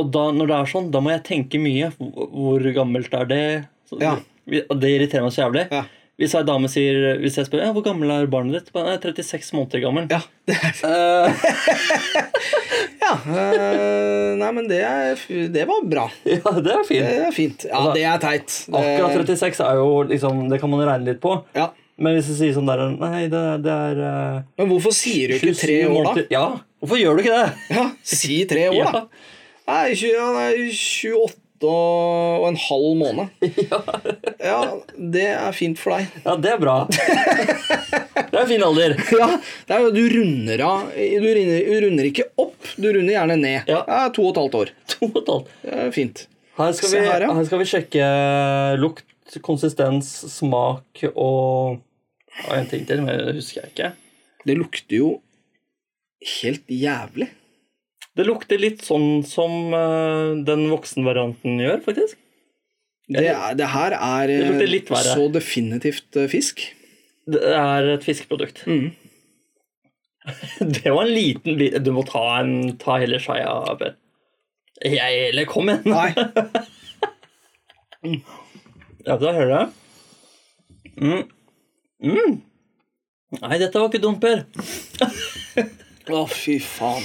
S2: Og da, når det er sånn, da må jeg tenke mye. Hvor- Hvor gammelt er det? Så,
S1: Ja.
S2: vi- og Det irriterer meg så jævlig.
S1: Ja.
S2: Hvis ei dame sier Hvis jeg spør ja, hvor gammel er barnet ditt, Bare, «Nei, 36 måneder gammel.
S1: Ja.
S2: Eh,
S1: ja. eh, nei, men det, er, f- det var bra.
S2: ja, det er
S1: Det
S2: fint.
S1: er fint. Ja, det er teit. Det-
S2: Akkurat 36 er jo liksom Det kan man regne litt på.
S1: Ja.
S2: Men hvis du sier sånn der Nei, det, det er eh,
S1: Men hvorfor sier du ikke
S2: 27
S1: tre år, da?
S2: måneder.» Ja, hvorfor gjør du ikke det?
S1: Ja, Si tre år, da. Nei, tjue- han er 28 og en halv måned. Ja, det er fint for deg.
S2: Ja, det er bra. Det er en fin alder.
S1: Ja, det er jo Du runder av Du runder, du runder ikke opp, du runder gjerne ned.
S2: Ja.
S1: Det er to og et halvt år.
S2: To og et halvt.
S1: Det er fint.
S2: Her
S1: Se
S2: skal, vi,
S1: her,
S2: her,
S1: ja.
S2: skal vi sjekke lukt, konsistens, smak og og en ting til, men det husker jeg ikke.
S1: Det lukter jo helt jævlig.
S2: Det lukter litt sånn som eh, den voksenvarianten gjør, faktisk.
S1: Det, er, det her er
S2: Det lukter
S1: eh,
S2: litt verre.
S1: så definitivt eh, fisk.
S2: Det er et fiskeprodukt.
S1: Mhm.
S2: Det var en liten bit Du må ta, en, ta hele skeia, Per. Jeg Eller kom igjen!
S1: Nei.
S2: Ja, da hører jeg. Mm. Mm. Nei, dette var ikke dumt, Per.
S1: Å, fy faen.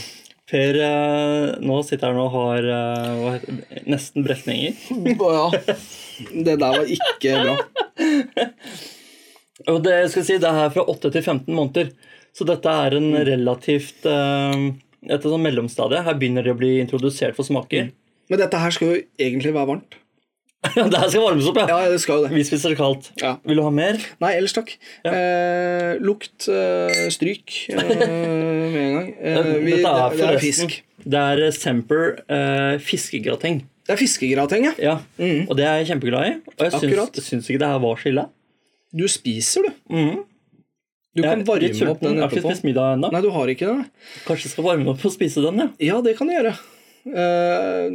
S2: Per eh, nå sitter han og har eh, hva heter, det? nesten brekninger.
S1: Å, ja. Det der var ikke bra.
S2: Og det, jeg skal si, det er fra 8 til 15 måneder, så dette er en
S1: Mm.
S2: relativt eh, et sånn mellomstadie. Her begynner de å bli introdusert for smaker.
S1: Men dette her skal jo egentlig være varmt.
S2: Ja, det her skal varmes opp, ja!
S1: Ja, det skal jo det.
S2: Vi spiser det kaldt.
S1: Ja.
S2: Vil du ha mer?
S1: Nei, ellers takk. Eh, lukt, eh, stryk eh, med en gang. Eh, vi, det,
S2: dette er
S1: det er
S2: forresten
S1: fisk.
S2: Det er eh, Semper eh, fiskegrateng.
S1: Det er fiskegrateng, ja.
S2: Ja. Og det er jeg kjempeglad i. Og jeg
S1: Akkurat.
S2: syns, syns ikke det her var så ille.
S1: Du spiser, du. Du
S2: Mm. Jeg
S1: kan
S2: er litt
S1: varme
S2: sulten.
S1: opp den
S2: Jeg har ikke
S1: etterpå.
S2: spist middag ennå.
S1: Nei, du har ikke det.
S2: Kanskje jeg skal varme den opp og spise den, ja.
S1: Ja, det kan du gjøre. Eh,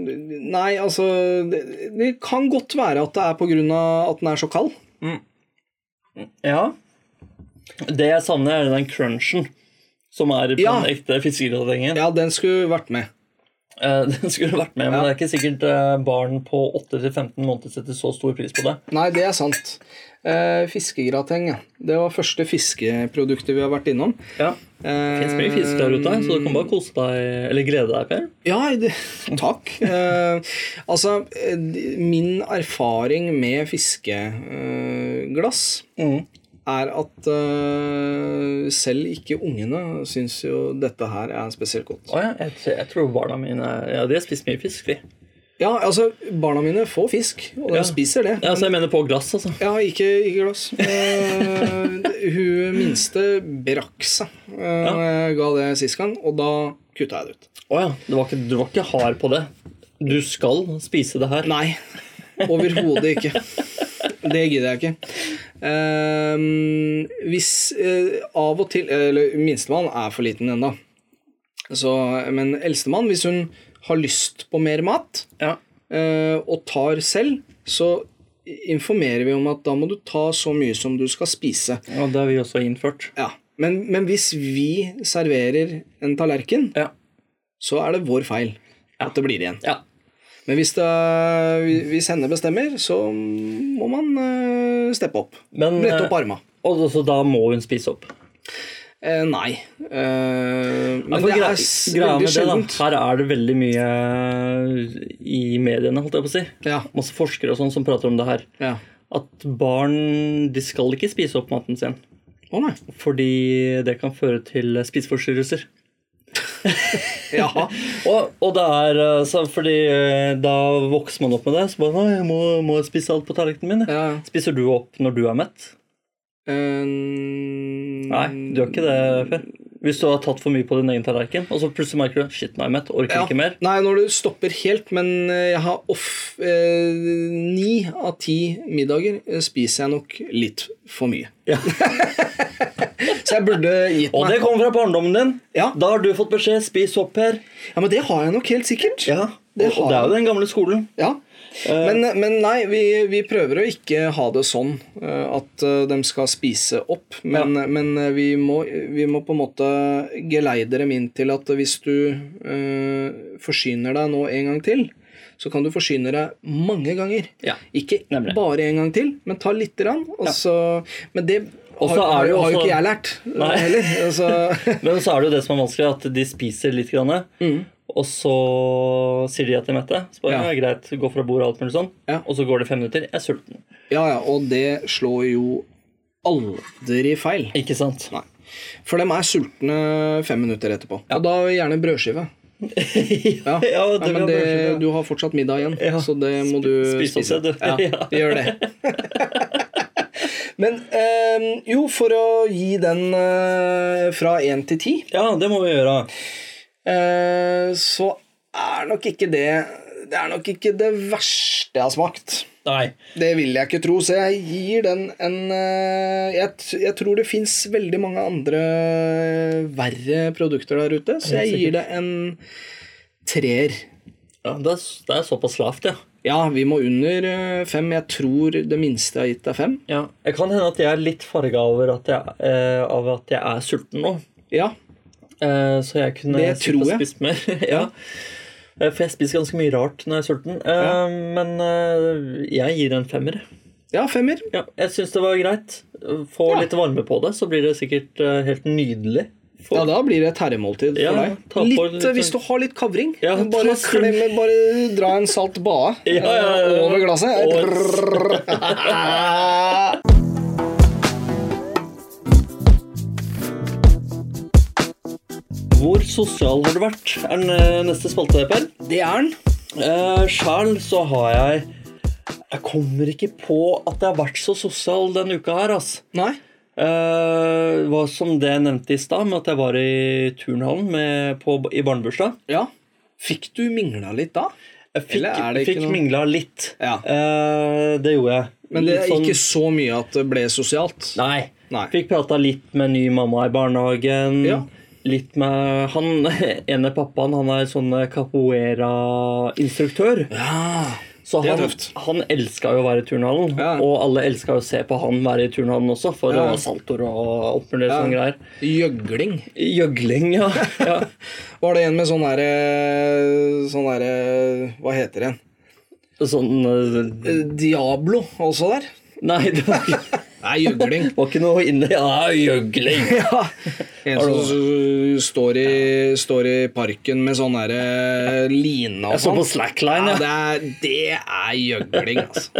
S1: nei, altså det, det kan godt være at det er pga. at den er så kald.
S2: Ja. Det jeg savner, er den crunchen som er på
S1: Ja.
S2: den ekte fiskegratengen.
S1: Ja, den skulle vært med.
S2: Eh, Den skulle vært med, men
S1: Ja.
S2: det er ikke sikkert eh, barn på 8-15 måneder setter så stor pris på det.
S1: Nei, det er sant. Eh, fiskegrateng, ja. Det var første fiskeproduktet vi har vært innom.
S2: Ja.
S1: Eh,
S2: Det fins mye fisk der ute, så du kan bare kose deg, eller glede deg, Per.
S1: Ja, det, takk. Eh, altså, eh, min erfaring med fiskeglass
S2: Mm.
S1: er at eh, selv ikke ungene syns jo dette her er spesielt godt.
S2: Å ja, jeg, jeg tror barna mine Ja, de har spist mye fisk, de.
S1: Ja, altså, barna mine får fisk, og de
S2: Ja.
S1: spiser det.
S2: Ja, så jeg mener på glass, altså.
S1: Ja, ikke, ikke glass. Eh, hun minste brakk seg eh, når jeg ga det sist gang, og da kutta jeg det ut.
S2: Å ja. Du var, ikke, du var ikke hard på det. Du skal spise det her.
S1: Nei, overhodet ikke. Det gidder jeg ikke. Ehm, hvis eh, av og til Eller minstemann er for liten ennå. Men eldstemann, hvis hun har lyst på mer mat
S2: Ja.
S1: eh, og tar selv, så informerer vi om at da må du ta så mye som du skal spise.
S2: Og det har vi også innført.
S1: Ja. Men, men hvis vi serverer en tallerken,
S2: Ja.
S1: så er det vår feil at det blir igjen.
S2: ja.
S1: Men hvis, det, hvis henne bestemmer, så må man eh, eh, steppe opp.
S2: Men,
S1: Brette
S2: eh,
S1: opp arma.
S2: Og så da må hun spise opp.
S1: Eh, nei. Eh, men
S2: Men
S1: det er
S2: greia,
S1: s- veldig
S2: greia med det, da.
S1: sjeldent.
S2: Her er det veldig mye i mediene, holdt jeg på å si.
S1: Ja,
S2: Masse forskere og sånn som prater om det her.
S1: ja.
S2: At barn de skal ikke spise opp maten sin.
S1: Å nei.
S2: Fordi det kan føre til spiseforstyrrelser.
S1: Jaha.
S2: Og, og det er eh, så fordi eh, da vokser man opp med det. Så bare Nei, jeg må, må jeg spise alt på tallerkenen min. jeg».
S1: Ja.
S2: Spiser du opp når du er mett?
S1: Eh,
S2: Nei, du gjør ikke det
S1: Mm.
S2: før. Hvis du har tatt for mye på din egen tallerken, og så plutselig merker du shit, nå er jeg mett, orker
S1: Ja.
S2: ikke mer.
S1: Nei, når du stopper helt, men eh, jeg har off eh, Ni av ti middager eh, spiser jeg nok litt for mye.
S2: Ja.
S1: Så jeg burde gitt
S2: Og
S1: meg.
S2: det kommer fra barndommen din.
S1: Ja.
S2: Da har du fått beskjed spis opp, Per.
S1: Ja, men det har jeg nok helt sikkert. det
S2: Det, og
S1: har
S2: det er
S1: jeg.
S2: jo den gamle skolen.
S1: Ja.
S2: Eh.
S1: Men, men nei, vi, vi prøver å ikke ha det sånn eh, at eh, de skal spise opp. Men, men eh, vi, må, vi må på en måte geleide dem inn til at hvis du eh, forsyner deg nå en gang til, så kan du forsyne deg mange ganger.
S2: Ja.
S1: Ikke
S2: Nemlig.
S1: bare en gang til, men ta lite grann. Og så, men det
S2: Og
S1: har,
S2: så er
S1: har
S2: det jo
S1: jo
S2: også-
S1: ikke jeg lært eh,
S2: Nei.
S1: heller. Altså,
S2: Men så er det jo det som er vanskelig, at de spiser litt, grann, og så sier de at de er mette. Så bare,
S1: Mm. Ja.
S2: ja. greit, gå fra bordet og alt mulig sånn.
S1: Ja.
S2: Og så går det fem minutter, jeg er sulten.
S1: ja, ja, og det slår jo aldri feil.
S2: Ikke sant?
S1: Nei. For de er sultne fem minutter etterpå. Og da gjerne brødskive.
S2: ja,
S1: Ja,
S2: ja,
S1: Nei, men
S2: var
S1: det,
S2: brødskive.
S1: du har fortsatt middag igjen,
S2: Ja.
S1: så det må du
S2: spis opp det, du.
S1: Ja,
S2: Ja.
S1: vi gjør det. men eh, jo, for å gi den eh, fra én til ti,
S2: ja, det må vi gjøre.
S1: eh, så er nok ikke det Det er nok ikke det verste jeg har smakt.
S2: Nei.
S1: Det vil jeg ikke tro, så jeg gir den en eh, Jeg, t- jeg tror det fins veldig mange andre eh, verre produkter der ute, så jeg gir det en treer.
S2: Ja, det, er, det er såpass lavt, ja.
S1: Ja, vi må under eh, fem. Jeg tror det minste jeg har gitt, er fem.
S2: ja. Jeg kan hende at jeg er litt farga over at jeg, eh, av at jeg er sulten nå.
S1: Ja.
S2: Eh, så jeg kunne
S1: Det
S2: sitte og
S1: tror jeg.
S2: spist mer. ja. Eh, For jeg spiser ganske mye rart når jeg er sulten. Eh, Men eh, jeg gir en femmer.
S1: ja, femmer.
S2: Ja, jeg syns det var greit. Få
S1: Ja.
S2: litt varme på det, så blir det sikkert eh, helt nydelig.
S1: Ja,
S2: For,
S1: da blir det et herremåltid for
S2: Ja, ta på
S1: deg. Litt,
S2: litt-
S1: eh, hvis du har litt kavring.
S2: Ja, ta
S1: bare,
S2: litt-
S1: klemme, bare dra en salt bae
S2: Ja, ja, ja,
S1: eh,
S2: ja.
S1: over
S2: Og-
S1: glasset.
S2: Hvor sosial har du vært? er den eh, neste spalte, Per.
S1: Det er den.
S2: Uh, Sjæl så har jeg Jeg kommer ikke på at jeg har vært så sosial denne uka her, ass.
S1: Nei.
S2: Eh, var som det jeg nevnte i stad, med at jeg var i turnhallen med, på, i barnebursdag.
S1: Ja. Fikk du mingla litt da?
S2: Jeg fikk,
S1: Eller er det ikke
S2: fikk
S1: noe-
S2: mingla litt.
S1: Ja.
S2: Eh, det gjorde jeg.
S1: Men det er
S2: Litt sånn-
S1: ikke så mye at det ble sosialt.
S2: Nei.
S1: Nei.
S2: Fikk prata litt med ny mamma i barnehagen.
S1: Ja.
S2: Litt med han ene pappaen, han er sånn capoeira-instruktør.
S1: Ja.
S2: Så
S1: Det er
S2: han,
S1: tøft.
S2: han elska jo å være i turnhallen.
S1: Ja.
S2: Og alle elska jo å se på han være i turnhallen også, for
S1: Ja.
S2: det var saltoer og alt mulig sånne greier.
S1: Gjøgling.
S2: Gjøgling, ja. ja.
S1: Var det en med sånn derre Sånn derre Hva heter den?
S2: Sånn eh,
S1: Eh, Diablo også der?
S2: Nei, det var ikke,
S1: Nei, gjøgling.
S2: var ikke noe inne Ja, gjøgling!
S1: Ja. En som s- Altså, står i, står i parken med sånn derre line og
S2: Så
S1: sånn.
S2: på slackline,
S1: Ja,
S2: ja.
S1: det er, det er gjøgling, altså.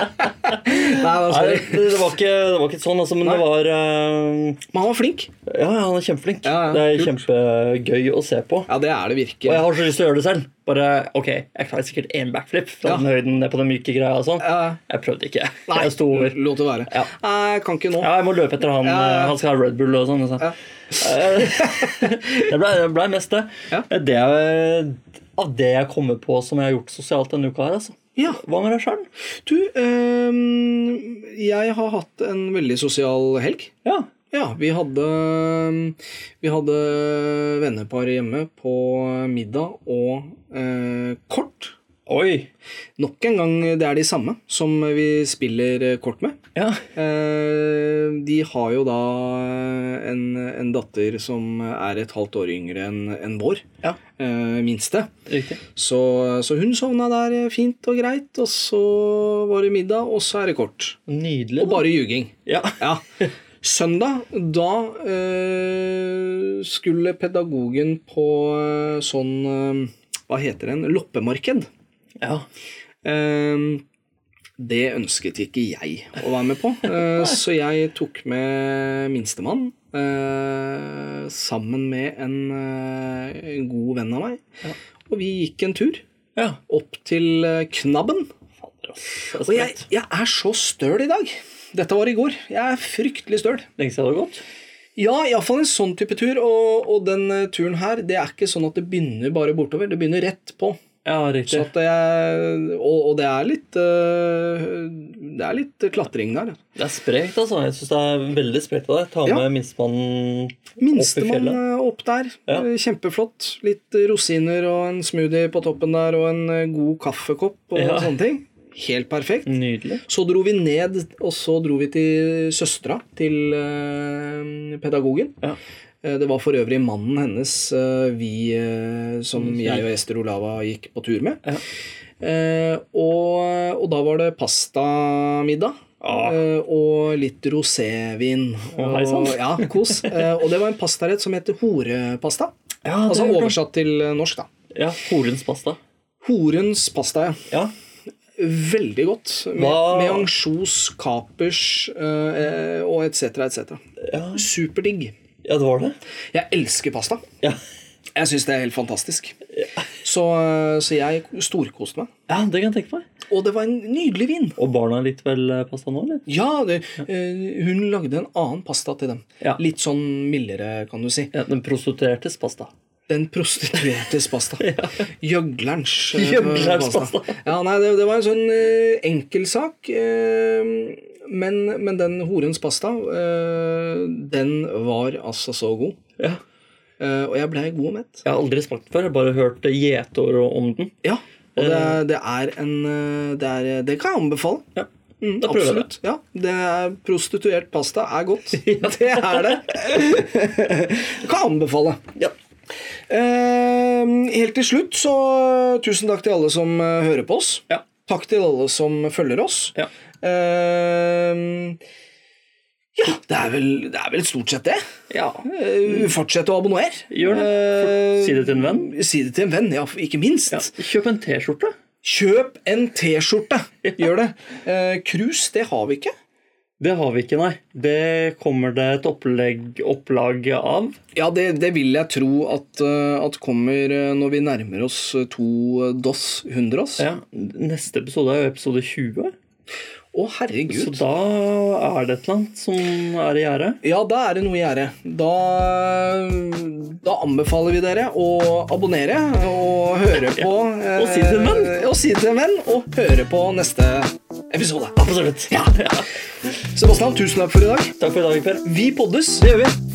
S1: Nei, da,
S2: Nei,
S1: sorry.
S2: det, det, var ikke, det var ikke sånn, altså, men det var eh,
S1: Men han var flink.
S2: Ja, ja, han er kjempeflink.
S1: Ja, ja,
S2: Det er kjempegøy å se på.
S1: Ja, det er det
S2: Og jeg
S1: virkelig.
S2: har så lyst til å gjøre det selv. Bare, ok, Jeg klarer sikkert én backflip fra
S1: Ja.
S2: den høyden ned på den myke greia. og sånn.
S1: Ja.
S2: Jeg prøvde ikke.
S1: Nei,
S2: Jeg sto over.
S1: lot det være.
S2: Ja.
S1: Nei, jeg kan ikke nå.
S2: Ja, jeg må løpe etter han.
S1: ja.
S2: eh, Han skal ha Red Bull og sånn. og sånn. det blei ble mest det. Eh,
S1: Ja.
S2: Det er av det jeg kommer på som jeg har gjort sosialt denne uka her, altså.
S1: Ja.
S2: Hva med deg sjøl?
S1: Du, ehm, jeg har hatt en veldig sosial helg.
S2: Ja.
S1: Ja, vi hadde, vi hadde vennepar hjemme på middag og eh, kort.
S2: Oi!
S1: Nok en gang, det er de samme som vi spiller eh, kort med.
S2: Ja.
S1: Eh, De har jo da en, en datter som er et halvt år yngre enn enn vår.
S2: ja.
S1: eh, Minste.
S2: Riktig.
S1: Så, så hun sovna der eh, fint og greit, og så var det middag, og så er det kort.
S2: Nydelig.
S1: Og
S2: da.
S1: bare ljuging.
S2: Ja.
S1: Ja. Søndag, da eh, skulle pedagogen på eh, sånn eh, Hva heter den? Loppemarked.
S2: ja.
S1: Ehm, det ønsket ikke jeg å være med på, eh, så jeg tok med minstemann eh, sammen med en, eh, en god venn av meg. Og vi gikk en tur
S2: Ja.
S1: opp til eh, Knabben.
S2: Fader, ass. Det er
S1: Og jeg,
S2: sprøtt.
S1: jeg er så støl i dag. Dette var i går. Jeg er fryktelig støl.
S2: Lenge siden det har gått.
S1: Ja, iallfall en sånn type tur. Og, og den eh, turen her, det er ikke sånn at det begynner bare bortover. Det begynner rett på.
S2: Ja, riktig.
S1: Så at jeg, og, og det er litt øh, Det er litt klatring der.
S2: Det er sprekt, altså. Jeg syns det er veldig sprekt av deg. Ta
S1: Ja.
S2: med minstemannen opp i
S1: Minstemann
S2: fjellet.
S1: øh, opp der.
S2: Ja.
S1: øh, Kjempeflott. Litt rosiner og en smoothie på toppen der, og en øh, god kaffekopp og
S2: Ja.
S1: sånne ting. Helt perfekt.
S2: Nydelig.
S1: Så dro vi ned, og så dro vi til søstera til øh, pedagogen.
S2: Ja.
S1: Eh, Det var for øvrig mannen hennes eh, vi, eh, som jeg og Ester Olava gikk på tur med.
S2: Mm, Ja.
S1: Eh, og, og da var det pastamiddag.
S2: Ah.
S1: eh, Og litt rosévin.
S2: Å, hei
S1: og,
S2: sann.
S1: ja, kos. Eh, og det var en pastarett som heter horepasta.
S2: Ja,
S1: Altså oversatt til eh, norsk, da.
S2: Ja, Horens pasta.
S1: Horens pasta, ja.
S2: Ja.
S1: Veldig godt. Med,
S2: Hva-
S1: med ansjos, kapers eh, og etc. etc.
S2: Ja.
S1: Superdigg.
S2: ja, det var det.
S1: Jeg elsker pasta.
S2: Ja,
S1: Jeg syns det er helt fantastisk. Så, eh, så jeg storkoste meg.
S2: ja det kan jeg tenke meg.
S1: Og det var en nydelig vin.
S2: Og barna litt vel eh, pasta nå, eller?
S1: Ja, det, eh, hun lagde en annen pasta til dem.
S2: Ja.
S1: Litt sånn mildere, kan du si.
S2: Ja, den prostituertes pasta.
S1: Den prostituertes pasta. Gjøglerens eh,
S2: Gjøglerens pasta.
S1: Ja, nei, det, det var en sånn eh, enkel sak. eh, men, men den horens pasta, eh, den var altså så god.
S2: Ja.
S1: Eh, og jeg blei god og mett.
S2: Jeg har aldri smakt den før, jeg har bare hørt eh, gjetord og om den.
S1: Ja. Og det, det er en eh, det, er, det kan jeg anbefale.
S2: Ja.
S1: Mm,
S2: Da prøver jeg
S1: absolutt. Ja, det er prostituert pasta er godt. Det er det. kan anbefale.
S2: Ja.
S1: Eh, helt til slutt så tusen takk til alle som eh, hører på oss.
S2: Ja.
S1: Takk til alle som følger oss.
S2: Ja.
S1: Eh, ja, det er, vel, det er vel stort sett det.
S2: Ja.
S1: Eh, fortsett å abonnere.
S2: Mm. Gjør det.
S1: Eh,
S2: Si det til en venn.
S1: Si det til en venn, ja, ikke minst.
S2: Kjøp en T-skjorte.
S1: Kjøp en T-skjorte! Gjør det. Eh, Krus, det har vi ikke.
S2: Det har vi ikke, nei. Det kommer det et opplegg, opplag av.
S1: Ja, det, det vil jeg tro at, eh, at kommer eh, når vi nærmer oss eh, to eh, DOS 100 oss. Å,
S2: Ja. Neste episode er jo episode 20,
S1: herregud.
S2: så da er det et eller annet som er i gjære.
S1: Ja, da er det noe i gjære. Da, da anbefaler vi dere å abonnere og høre på
S2: og si det til en venn.
S1: eh, Og si det til en venn, og høre på neste episode.
S2: Absolutt. Ja.
S1: Sebastian, tusen takk for i dag.
S2: Takk for i dag, Per.
S1: Vi poddes.
S2: Det gjør vi.